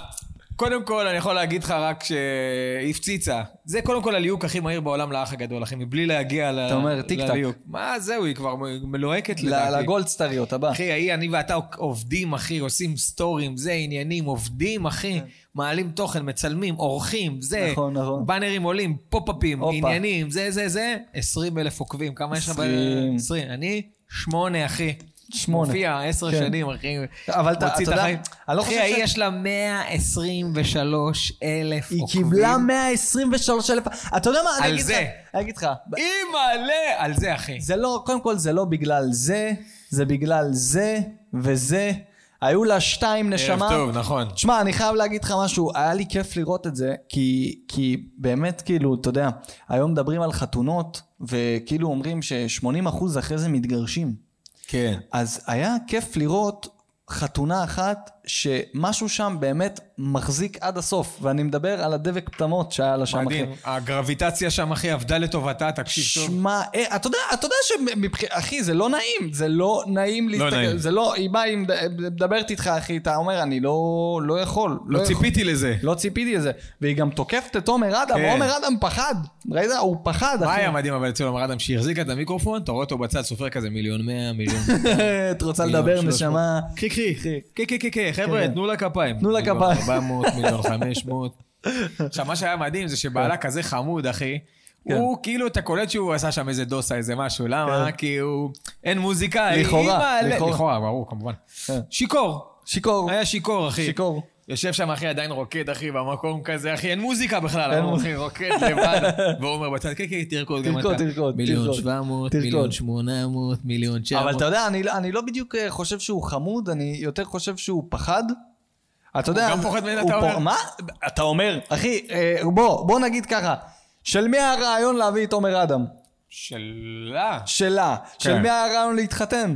קודם כל, אני יכול להגיד לך רק שהפציצה. זה קודם כל הליהוק הכי מהיר בעולם לאח הגדול, אחי, מבלי להגיע ל... אתה אומר, טיק-טק. לליהוק. מה זהו, היא כבר מ- מלוהקת ל- לדעתי. לגולדסטריות הבא. אחי, ההיא, אני ואתה עובדים, אחי, עושים סטורים, זה עניינים, עובדים, אחי, מעלים תוכן, מצלמים, עורכים, זה, כן. נכון, נכון. באנרים עולים, פופ-אפים, הופה. עניינים, זה, זה, זה, 20 אלף עוקבים, כמה יש לך? ב- 20. 20. אני, שמונה, אחי. שמונה. מופיע עשר כן. שנים, אחי. אבל אתה- מוציא אתה את יודע, החיים. אני לא אחי, חושב ש- ההיא יש לה 123 אלף היא עוקבים. קיבלה 123 אלף... אתה יודע מה? אני על אגיד לך- זה. אני אגיד לך. אימא'לה! על זה, אחי. זה לא, קודם כל זה לא בגלל זה, זה בגלל זה וזה. היו לה שתיים נשמה. נכון. תשמע, אני חייב להגיד לך משהו, היה לי כיף לראות את זה, כי, כי באמת, כאילו, אתה יודע, היום מדברים על חתונות, וכאילו אומרים ש-80% אחרי זה מתגרשים. כן. אז היה כיף לראות חתונה אחת שמשהו שם באמת מחזיק עד הסוף, ואני מדבר על הדבק פטמות שהיה לה שם. מדהים. אחי. הגרביטציה שם, אחי, עבדה לטובתה, תקשיב טוב. שמע, אה, אתה יודע, אתה יודע שמבחינת, אחי, זה לא נעים, זה לא נעים נעים. זה לא, היא באה, היא מד- מדברת איתך, אחי, אתה אומר, אני לא, לא יכול. לא יכול." ציפיתי לזה. לא ציפיתי לזה. והיא גם תוקפת את עומר אדם, כן. עומר אדם פחד. ראית? הוא פחד, מה היה אחי. מדהים אבל אצל עומר אדם שהחזיקה את המיקרופון, אתה רואה אותו בצד, סופר כזה מיליון מאה, מיליון... את רוצה מיליון לדבר, שלוש נשמה? מאות. קחי, קחי, קחי. קחי, קחי, קחי, חבר'ה, כן. תנו לה כפיים. תנו לה מיליון כפיים. 400, מיליון 500. עכשיו, מה שהיה מדהים זה שבעלה כזה חמוד, אחי. כן. הוא כאילו, אתה קולט שהוא עשה שם איזה דוסה, איזה משהו, למה? כי הוא... אין מוזיקה, היא- לכאורה, היא מעלה- לכאורה. לכאורה, ברור, כמובן. כן. שיכור. שיכור. היה שיכור, אחי. שיכור. יושב שם, אחי, עדיין רוקד, אחי, במקום כזה, אחי, אין מוזיקה בכלל, אין אמרו, מוזיקה. אחי, רוקד לבד, ועומר בצד, כן, כן, תרקוד גם אתה. תרקוד, תרקוד, מיליון תרקוד. 700, תרקוד. מיליון 800, מיליון 900. אבל אתה יודע, אני לא- אני לא בדיוק אה, חושב שהוא חמוד, אני יותר חושב שהוא פחד. אתה יודע... גם פוחד ממנה, הוא אתה פו- אומר? מה? אתה אומר. אחי, אה, בוא, בוא נגיד ככה. של מי הרעיון להביא את עומר אדם? שאלה. שלה. של כן. מי הרעיון להתחתן?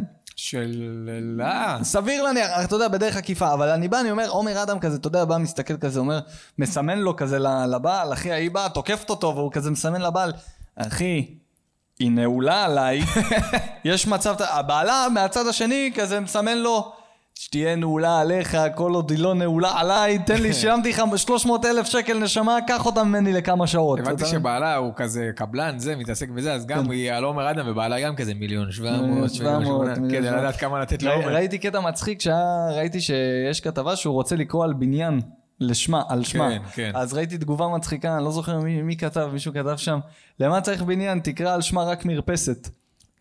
שאלה. סביר להניח, אתה יודע, בדרך עקיפה, אבל אני בא, אני אומר, עומר אדם כזה, אתה יודע, בא, מסתכל כזה, אומר, מסמן לו כזה ל- לבעל, אחי, ההיא באה, תוקפת אותו, והוא כזה מסמן לבעל, אחי, היא נעולה עליי, יש מצב, הבעלה מהצד השני כזה מסמן לו, שתהיה נעולה עליך, כל עוד היא לא נעולה עליי, תן לי, שילמתי לך 300 אלף שקל נשמה, קח אותה ממני לכמה שעות. הבנתי אתה- שבעלה הוא כזה קבלן, זה, מתעסק בזה, אז גם היא על עומר אדם, ובעלה גם כזה מיליון 700, כן. מיליון מיליון כן, 700, 800, מיליון כדי 700. לדעת לא כמה לתת ראי- לעומר. ראיתי קטע מצחיק שהיה, ראיתי שיש כתבה שהוא רוצה לקרוא על בניין לשמה, על שמה. כן, כן. אז ראיתי תגובה מצחיקה, אני לא זוכר מי, מי כתב, מישהו כתב שם, למה צריך בניין? תקרא על שמה רק מרפסת.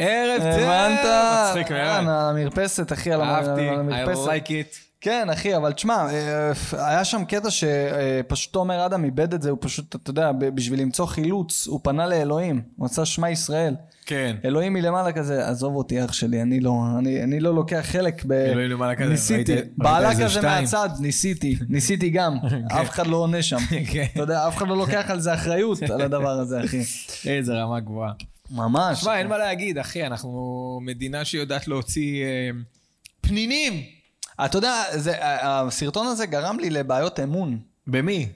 אה, ערב טוב! הבנת? מצחיק כן, מאוד. על המרפסת, אחי, על המ- אהבתי, על I המרפסת. like it. כן, אחי, אבל תשמע, אה, היה שם קטע שפשוט תומר אדם איבד את זה, הוא פשוט, אתה יודע, ב- בשביל למצוא חילוץ, הוא פנה לאלוהים, הוא עשה שמע ישראל. כן. אלוהים מלמעלה כזה, עזוב אותי אח שלי, אני לא, אני, אני לא לוקח חלק ב... אלוהים למעלה כזה, ניסיתי, ראית- ראית בעלה איזה כזה שתיים? אוקיי. מהצד, ניסיתי, ניסיתי גם, אף אחד לא עונה שם. כן. אתה יודע, אף אחד לא לוקח על זה אחריות, על הדבר הזה, אחי. איזה רמה גבוהה. ממש. תשמע, אין מה להגיד, אחי, אנחנו מדינה שיודעת להוציא אה, פנינים. אתה יודע, זה, ה- הסרטון הזה גרם לי לבעיות אמון. במי?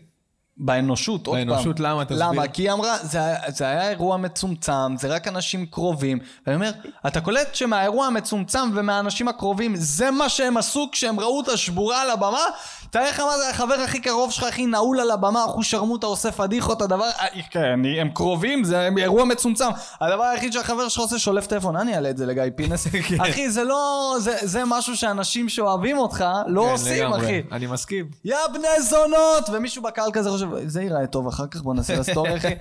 באנושות, עוד פעם. באנושות, למה? תסביר. למה? כי היא אמרה, זה, היה- זה היה אירוע מצומצם, זה רק אנשים קרובים. ואני אומר, אתה קולט שמהאירוע המצומצם ומהאנשים הקרובים, זה מה שהם עשו כשהם ראו אותה שבורה על הבמה? תאר לך מה זה החבר הכי קרוב שלך, הכי נעול על הבמה, אחושרמוטה עושה פדיחות, הדבר... אה, כן, אני- הם קרובים, זה אירוע מצומצם. הדבר היחיד שהחבר שלך עושה, שולף טלפון. אני אעלה את זה לגיא פינס. כן, אחי, זה לא... זה, זה משהו שאנשים שאוהבים אותך לא כן, עושים, לגמרי. אחי. אני מסכים. יא בני זונות! ומישהו בקהל כזה חושב, זה ייראה טוב אחר כך, בוא נעשה לסטורי, אחי.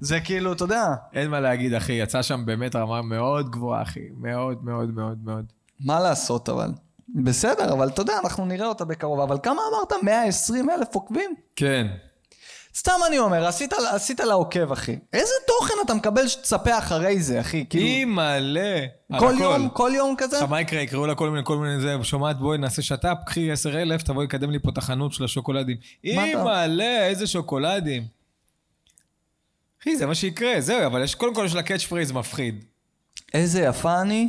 זה כאילו, אתה יודע, אין מה להגיד, אחי, יצא שם באמת רמה מאוד גבוהה, אחי. מאוד מאוד מאוד מאוד. מה לעשות אבל. בסדר, אבל אתה יודע, אנחנו נראה אותה בקרוב. אבל כמה אמרת? 120 אלף עוקבים? כן. סתם אני אומר, עשית, עשית לה עוקב, אחי. איזה תוכן אתה מקבל שתצפה אחרי זה, אחי? כאילו, אימא'לה. על כל הכל. יום, כל יום כזה? עכשיו, מה יקרה? יקראו לה כל מיני, כל מיני זה, שומעת, בואי נעשה שת"פ, קחי 10,000, תבואי, קדם לי פה את החנות של השוקולדים. אתה- אימא'לה, איזה שוקולדים. אחי, זה מה שיקרה, זהו, אבל יש, קודם כל יש לה קאץ' פרייז מפחיד. איזה יפה אני.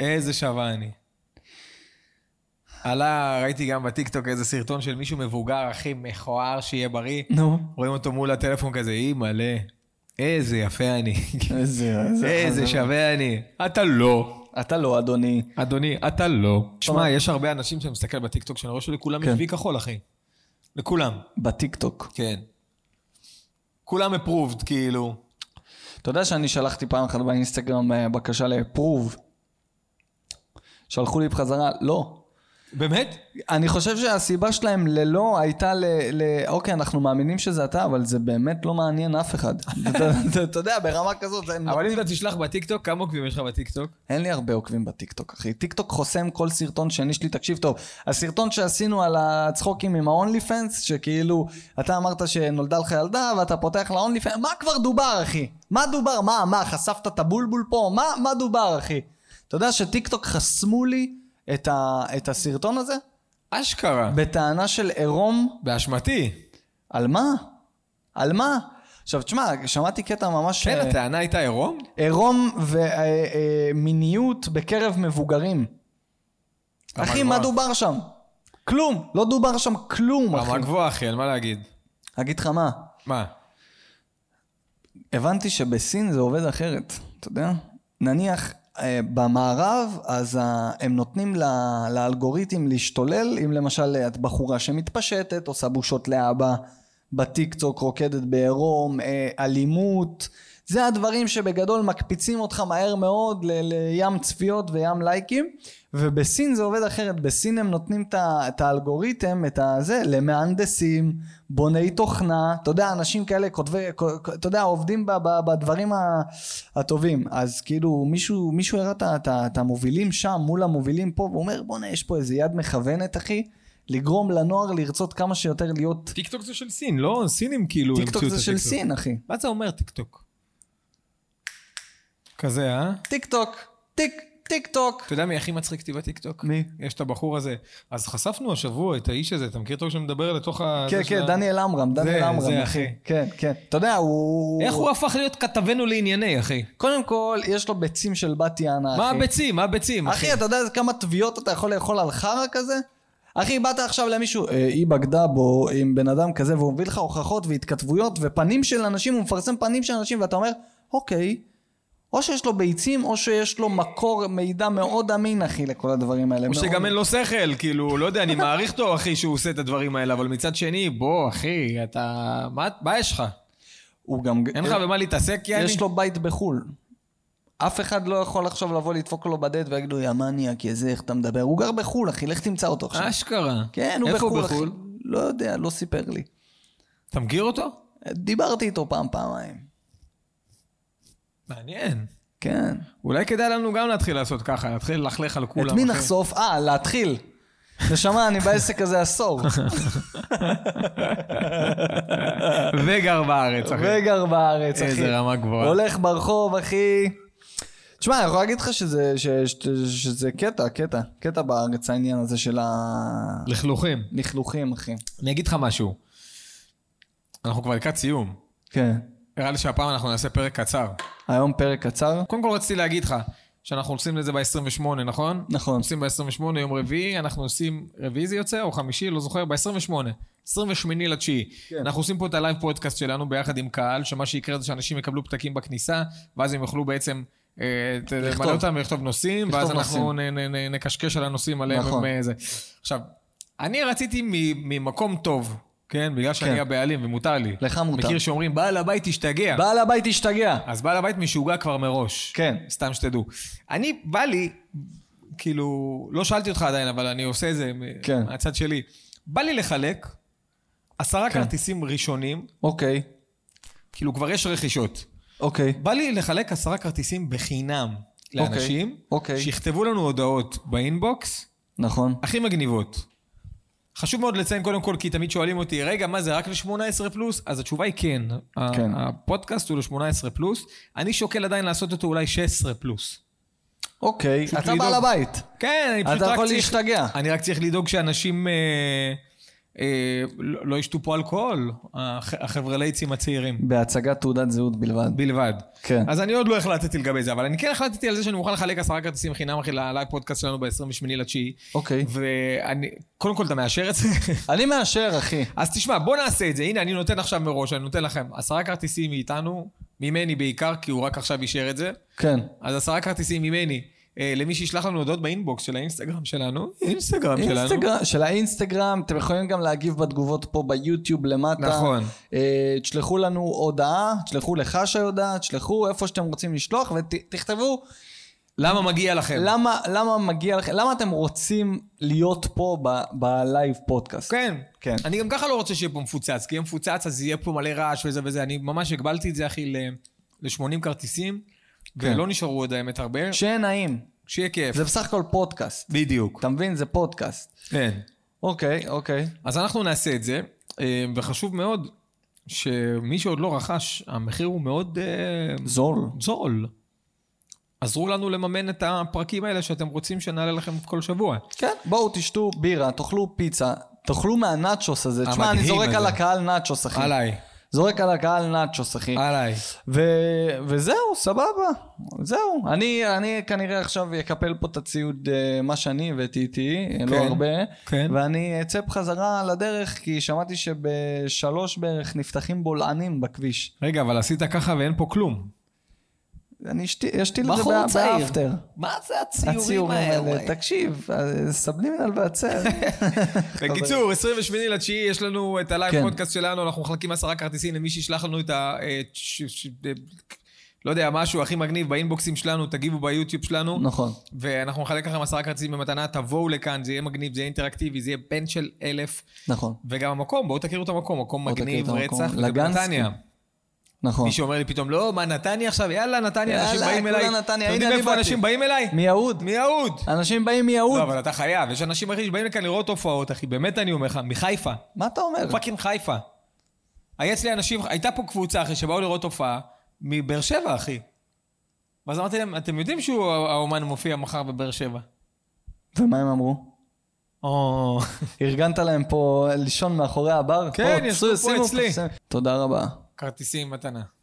איזה שווה אני. עלה, ראיתי גם בטיקטוק איזה סרטון של מישהו מבוגר, הכי מכוער, שיהיה בריא. נו. רואים אותו מול הטלפון כזה, אימא'לה, איזה יפה אני. איזה, איזה שווה אני. אתה לא. אתה לא, אדוני. אדוני, אתה לא. תשמע, יש הרבה אנשים שאני מסתכל בטיקטוק שאני רואה שלכולם יש כן. וי כחול, אחי. לכולם. בטיקטוק. כן. כולם approved, כאילו. אתה יודע שאני שלחתי פעם אחת באינסטגרם אה, בקשה לפרוב. שלחו לי בחזרה, לא. באמת? אני חושב שהסיבה שלהם ללא הייתה ל... ל... אוקיי, אנחנו מאמינים שזה אתה, אבל זה באמת לא מעניין אף אחד. אתה- אתה- אתה יודע, ברמה כזאת, זה... אבל אם אתה תשלח בטיקטוק, כמה עוקבים יש לך בטיקטוק? אין לי הרבה עוקבים בטיקטוק, אחי. טיקטוק חוסם כל סרטון שני שלי, תקשיב טוב. הסרטון שעשינו על הצחוקים עם ה-only fans, שכאילו, אתה אמרת שנולדה לך ילדה, ואתה פותח ל-only fans, מה כבר דובר, אחי? מה דובר? מה, מה, חשפת את הבולבול פה? מה, מה דובר, אחי? אתה יודע שטיקטוק חסמו לי את, ה- את הסרטון הזה? אשכרה. בטענה של עירום באשמתי. על מה? על מה? עכשיו, תשמע, שמעתי קטע ממש... כן, אה, הטענה הייתה עירום? עירום ומיניות בקרב מבוגרים. רמה אחי, גבוהה. מה דובר שם? כלום. לא דובר שם כלום, אחי. רמה גבוהה, אחי, על מה להגיד? אגיד לך מה, מה? הבנתי שבסין זה עובד אחרת, אתה יודע? נניח אה, במערב, אז ה- הם נותנים ל- לאלגוריתם להשתולל, אם למשל אה, את בחורה שמתפשטת, עושה בושות לאבא, בטיקטוק רוקדת בעירום, אה, אלימות, זה הדברים שבגדול מקפיצים אותך מהר מאוד ל- לים צפיות וים לייקים, ובסין זה עובד אחרת, בסין הם נותנים את ה- את האלגוריתם, את הזה, למהנדסים, בוני תוכנה, אתה יודע, אנשים כאלה כותבי, אתה יודע, עובדים ב- ב- בדברים ה- הטובים, אז כאילו מישהו, מישהו הראה את ה- את ה- את המובילים שם מול המובילים פה, והוא אומר בואנה יש פה איזה יד מכוונת אחי, לגרום לנוער לרצות כמה שיותר להיות, טיקטוק זה של סין, לא? סינים כאילו טיקטוק המציאו את זה של הטיקטוק. סין אחי. מה זה אומר טיקטוק? כזה, אה? טיק טוק, טיק, טיק טוק. אתה יודע מי הכי מצחיק אותי בטיקטוק? מי? יש את הבחור הזה. אז חשפנו השבוע את האיש הזה, אתה מכיר אותו שמדבר לתוך ה... כן, זה של כן, ה- דניאל עמרם, דניאל זה- עמרם, זה, אחי. אחי. כן, כן. אתה יודע, הוא... איך הוא הפך להיות כתבנו לענייני, אחי? קודם כל, יש לו ביצים של בת יענה, אחי. מה הביצים? מה הביצים, אחי? אחי, אתה יודע איזה כמה תביעות אתה יכול לאכול על חרא כזה? אחי, באת עכשיו למישהו, "אה, היא בגדה בו עם בן אדם כזה, והוא מביא לך הוכחות והתכתבויות ופנים של אנשים, הוא מפרסם פנים של אנשים, ואתה אומר, אוקיי, או שיש לו ביצים, או שיש לו מקור מידע מאוד אמין, אחי, לכל הדברים האלה. או מאוד- שגם אין לו שכל, כאילו, לא יודע, אני מעריך אותו, אחי, שהוא עושה את הדברים האלה, אבל מצד שני, בוא, אחי, אתה... מה- מה יש לך? הוא גם... אה, אין לך במה להתעסק, יעני? כן. יש לו בית בחו"ל. אף אחד לא יכול עכשיו לבוא לדפוק לו בדלת ויגידו, יא מניאק, יא זה, איך אתה מדבר? הוא גר בחו"ל, אחי, לך תמצא אותו עכשיו. אשכרה. כן, הוא אה, איפה בחו"ל, הוא אחי. בחו"ל? לא יודע, לא סיפר לי. אתה מכיר אותו? דיברתי איתו פעם, פעמיים. מעניין. כן. אולי כדאי לנו גם להתחיל לעשות ככה, להתחיל ללכלך על כולם. את מי אחי. נחשוף? אה, להתחיל. נשמה, אני בעסק הזה עשור. וגר בארץ, אחי. וגר לא בארץ, אחי. איזה רמה גבוהה. הולך ברחוב, אחי. תשמע, אני יכול להגיד לך שזה- ש- ש- שזה קטע, קטע. קטע בארץ, העניין הזה של לכלוכים. הלכלוכים, אחי. אני אגיד לך משהו. אנחנו כבר לקראת סיום. כן. נראה לי שהפעם אנחנו נעשה פרק קצר. היום פרק קצר. קודם כל רציתי להגיד לך שאנחנו עושים לזה ב-28, נכון? נכון. עושים ב-28 יום רביעי, אנחנו עושים, רביעי זה יוצא או חמישי, לא זוכר, ב-28, 28 לתשיעי. כן. כן. אנחנו עושים פה את הלייב פודקאסט שלנו ביחד עם קהל, שמה שיקרה זה שאנשים יקבלו פתקים בכניסה, ואז הם יוכלו בעצם... אה, ת- לכתוב. למלא אותם ולכתוב נושאים, לכתוב ואז אנחנו נ- נ- נ- נקשקש על הנושאים עליהם. הם, נכון. אה, זה. עכשיו, אני רציתי מ- ממקום טוב, כן? בגלל כן. שאני הבעלים ומותר לי. לך מותר. מכיר שאומרים, בעל הבית השתגע. בעל הבית השתגע. אז בעל הבית משוגע כבר מראש. כן. סתם שתדעו. אני, בא לי, כאילו, לא שאלתי אותך עדיין, אבל אני עושה את זה מ- כן. מהצד שלי. בא לי לחלק עשרה כן. כרטיסים ראשונים, אוקיי, כאילו כבר יש רכישות. אוקיי. בא לי לחלק עשרה כרטיסים בחינם אוקיי, לאנשים, אוקיי. שיכתבו לנו הודעות באינבוקס נכון. הכי מגניבות. חשוב מאוד לציין קודם כל, כי תמיד שואלים אותי, רגע, מה זה רק ל-18 פלוס? אז התשובה היא כן. ה- כן. הפודקאסט הוא ל-18 פלוס. אני שוקל עדיין לעשות אותו אולי 16 פלוס. אוקיי, פשוט אתה לדאוג. בעל הבית. כן, אני אתה פשוט רק צריך... יכול להשתגע. אני רק צריך לדאוג שאנשים אה, אה, לא לא ישתו פה אלכוהול, הח- החבר'ה לייצים הצעירים. בהצגת תעודת זהות בלבד. בלבד. כן. אז אני עוד לא החלטתי לגבי זה, אבל אני כן החלטתי על זה שאני מוכן לחלק עשרה כרטיסים חינם אחי ללייב פודקאסט שלנו ב-28 לתשיעי. אוקיי. ואני, קודם כל אתה מאשר את זה? אני מאשר, אחי. אז תשמע, בוא נעשה את זה. הנה, אני נותן עכשיו מראש, אני נותן לכם עשרה כרטיסים מאיתנו, ממני בעיקר, כי הוא רק עכשיו אישר את זה. כן. אז עשרה כרטיסים ממני אה, למי שישלח לנו הודעות באינבוקס של האינסטגרם שלנו. אינסטגרם שלנו. אינסטגרם, של האינסטגרם, אתם יכולים גם להגיב בתגובות פה ביוטיוב למטה. נכון. אה, תשלחו לנו הודעה, תשלחו לך שהודעה, תשלחו איפה שאתם רוצים לשלוח, ותכתבו למה מגיע לכם? למה, למה מגיע לכם, למה אתם רוצים להיות פה ב- בלייב פודקאסט. כן. כן. אני גם ככה לא רוצה שיהיה פה מפוצץ, כי יהיה מפוצץ אז יהיה פה מלא רעש וזה וזה. אני ממש הגבלתי את זה, אחי, ל-80 כרטיסים, כן. ולא נשארו עוד האמת הרבה. שיהיה נעים. שיהיה כיף. זה בסך הכל פודקאסט. בדיוק. אתה מבין? זה פודקאסט. כן. אוקיי, אוקיי. אז אנחנו נעשה את זה, אה, וחשוב מאוד שמי שעוד לא רכש, המחיר הוא מאוד אה, זול. זול. עזרו לנו לממן את הפרקים האלה שאתם רוצים שנעלה לכם כל שבוע. כן, בואו תשתו בירה, תאכלו פיצה, תאכלו מהנאצ'וס הזה. תשמע, אני המדהים זורק הזה. על הקהל נאצ'וס, אחי. עליי, זורק על הקהל נאצ'וס, אחי. עליי. ו... וזהו, סבבה. זהו. אני, אני כנראה עכשיו אקפל פה את הציוד, אה, מה שאני הבאתי איתי, כן, לא כן, הרבה. כן. ואני אצא בחזרה לדרך, כי שמעתי שבשלוש בערך נפתחים בולענים בכביש. רגע, אבל עשית ככה ואין פה כלום. אני אשתי- אשתיל את זה בחור בא- צעיר. באפטר. מה זה הציורים הציורים האלה? האלה, תקשיב, אה, סבלימינל והצל. בקיצור, 28 לתשיעי יש לנו את הלייב כן. פודקאסט שלנו, אנחנו מחלקים עשרה כרטיסים למי שישלח לנו את ה... אה, ש- ש- אה, לא יודע, משהו הכי מגניב באינבוקסים שלנו, תגיבו ביוטיוב שלנו. נכון. ואנחנו נחלק לכם עשרה כרטיסים במתנה, תבואו לכאן, זה יהיה מגניב, זה יהיה אינטראקטיבי, זה יהיה פן של אלף, נכון, וגם המקום, בואו תכירו את המקום, מקום בואו תכירו את מגניב, המקום. רצח, וזה לגנסקי. בנתניה. נכון. מי שאומר לי פתאום, לא, מה, נתניה עכשיו? יאללה, נתניה, אנשים יאללה, באים כולה אליי. נתניה, אתם הנה יודעים אני איפה באתי. אנשים באים אליי? מיהוד. מיהוד. אנשים באים מיהוד. לא, אבל אתה חייב, יש אנשים, אחי, שבאים לכאן לראות הופעות, אחי, באמת אני אומר לך, מחיפה. מה אתה אומר? פאקינג חיפה. היה אצלי אנשים, הייתה פה קבוצה, אחי, שבאו לראות הופעה מבאר שבע, אחי. ואז אמרתי להם, אתם יודעים שהוא, האומן מופיע מחר בבאר שבע. ומה הם אמרו? או... ארגנת להם פה לישון מאחורי הבר? כן, פה, ישבו פה שימו אצלי. שימו- תודה רבה. כרטיסים מתנה.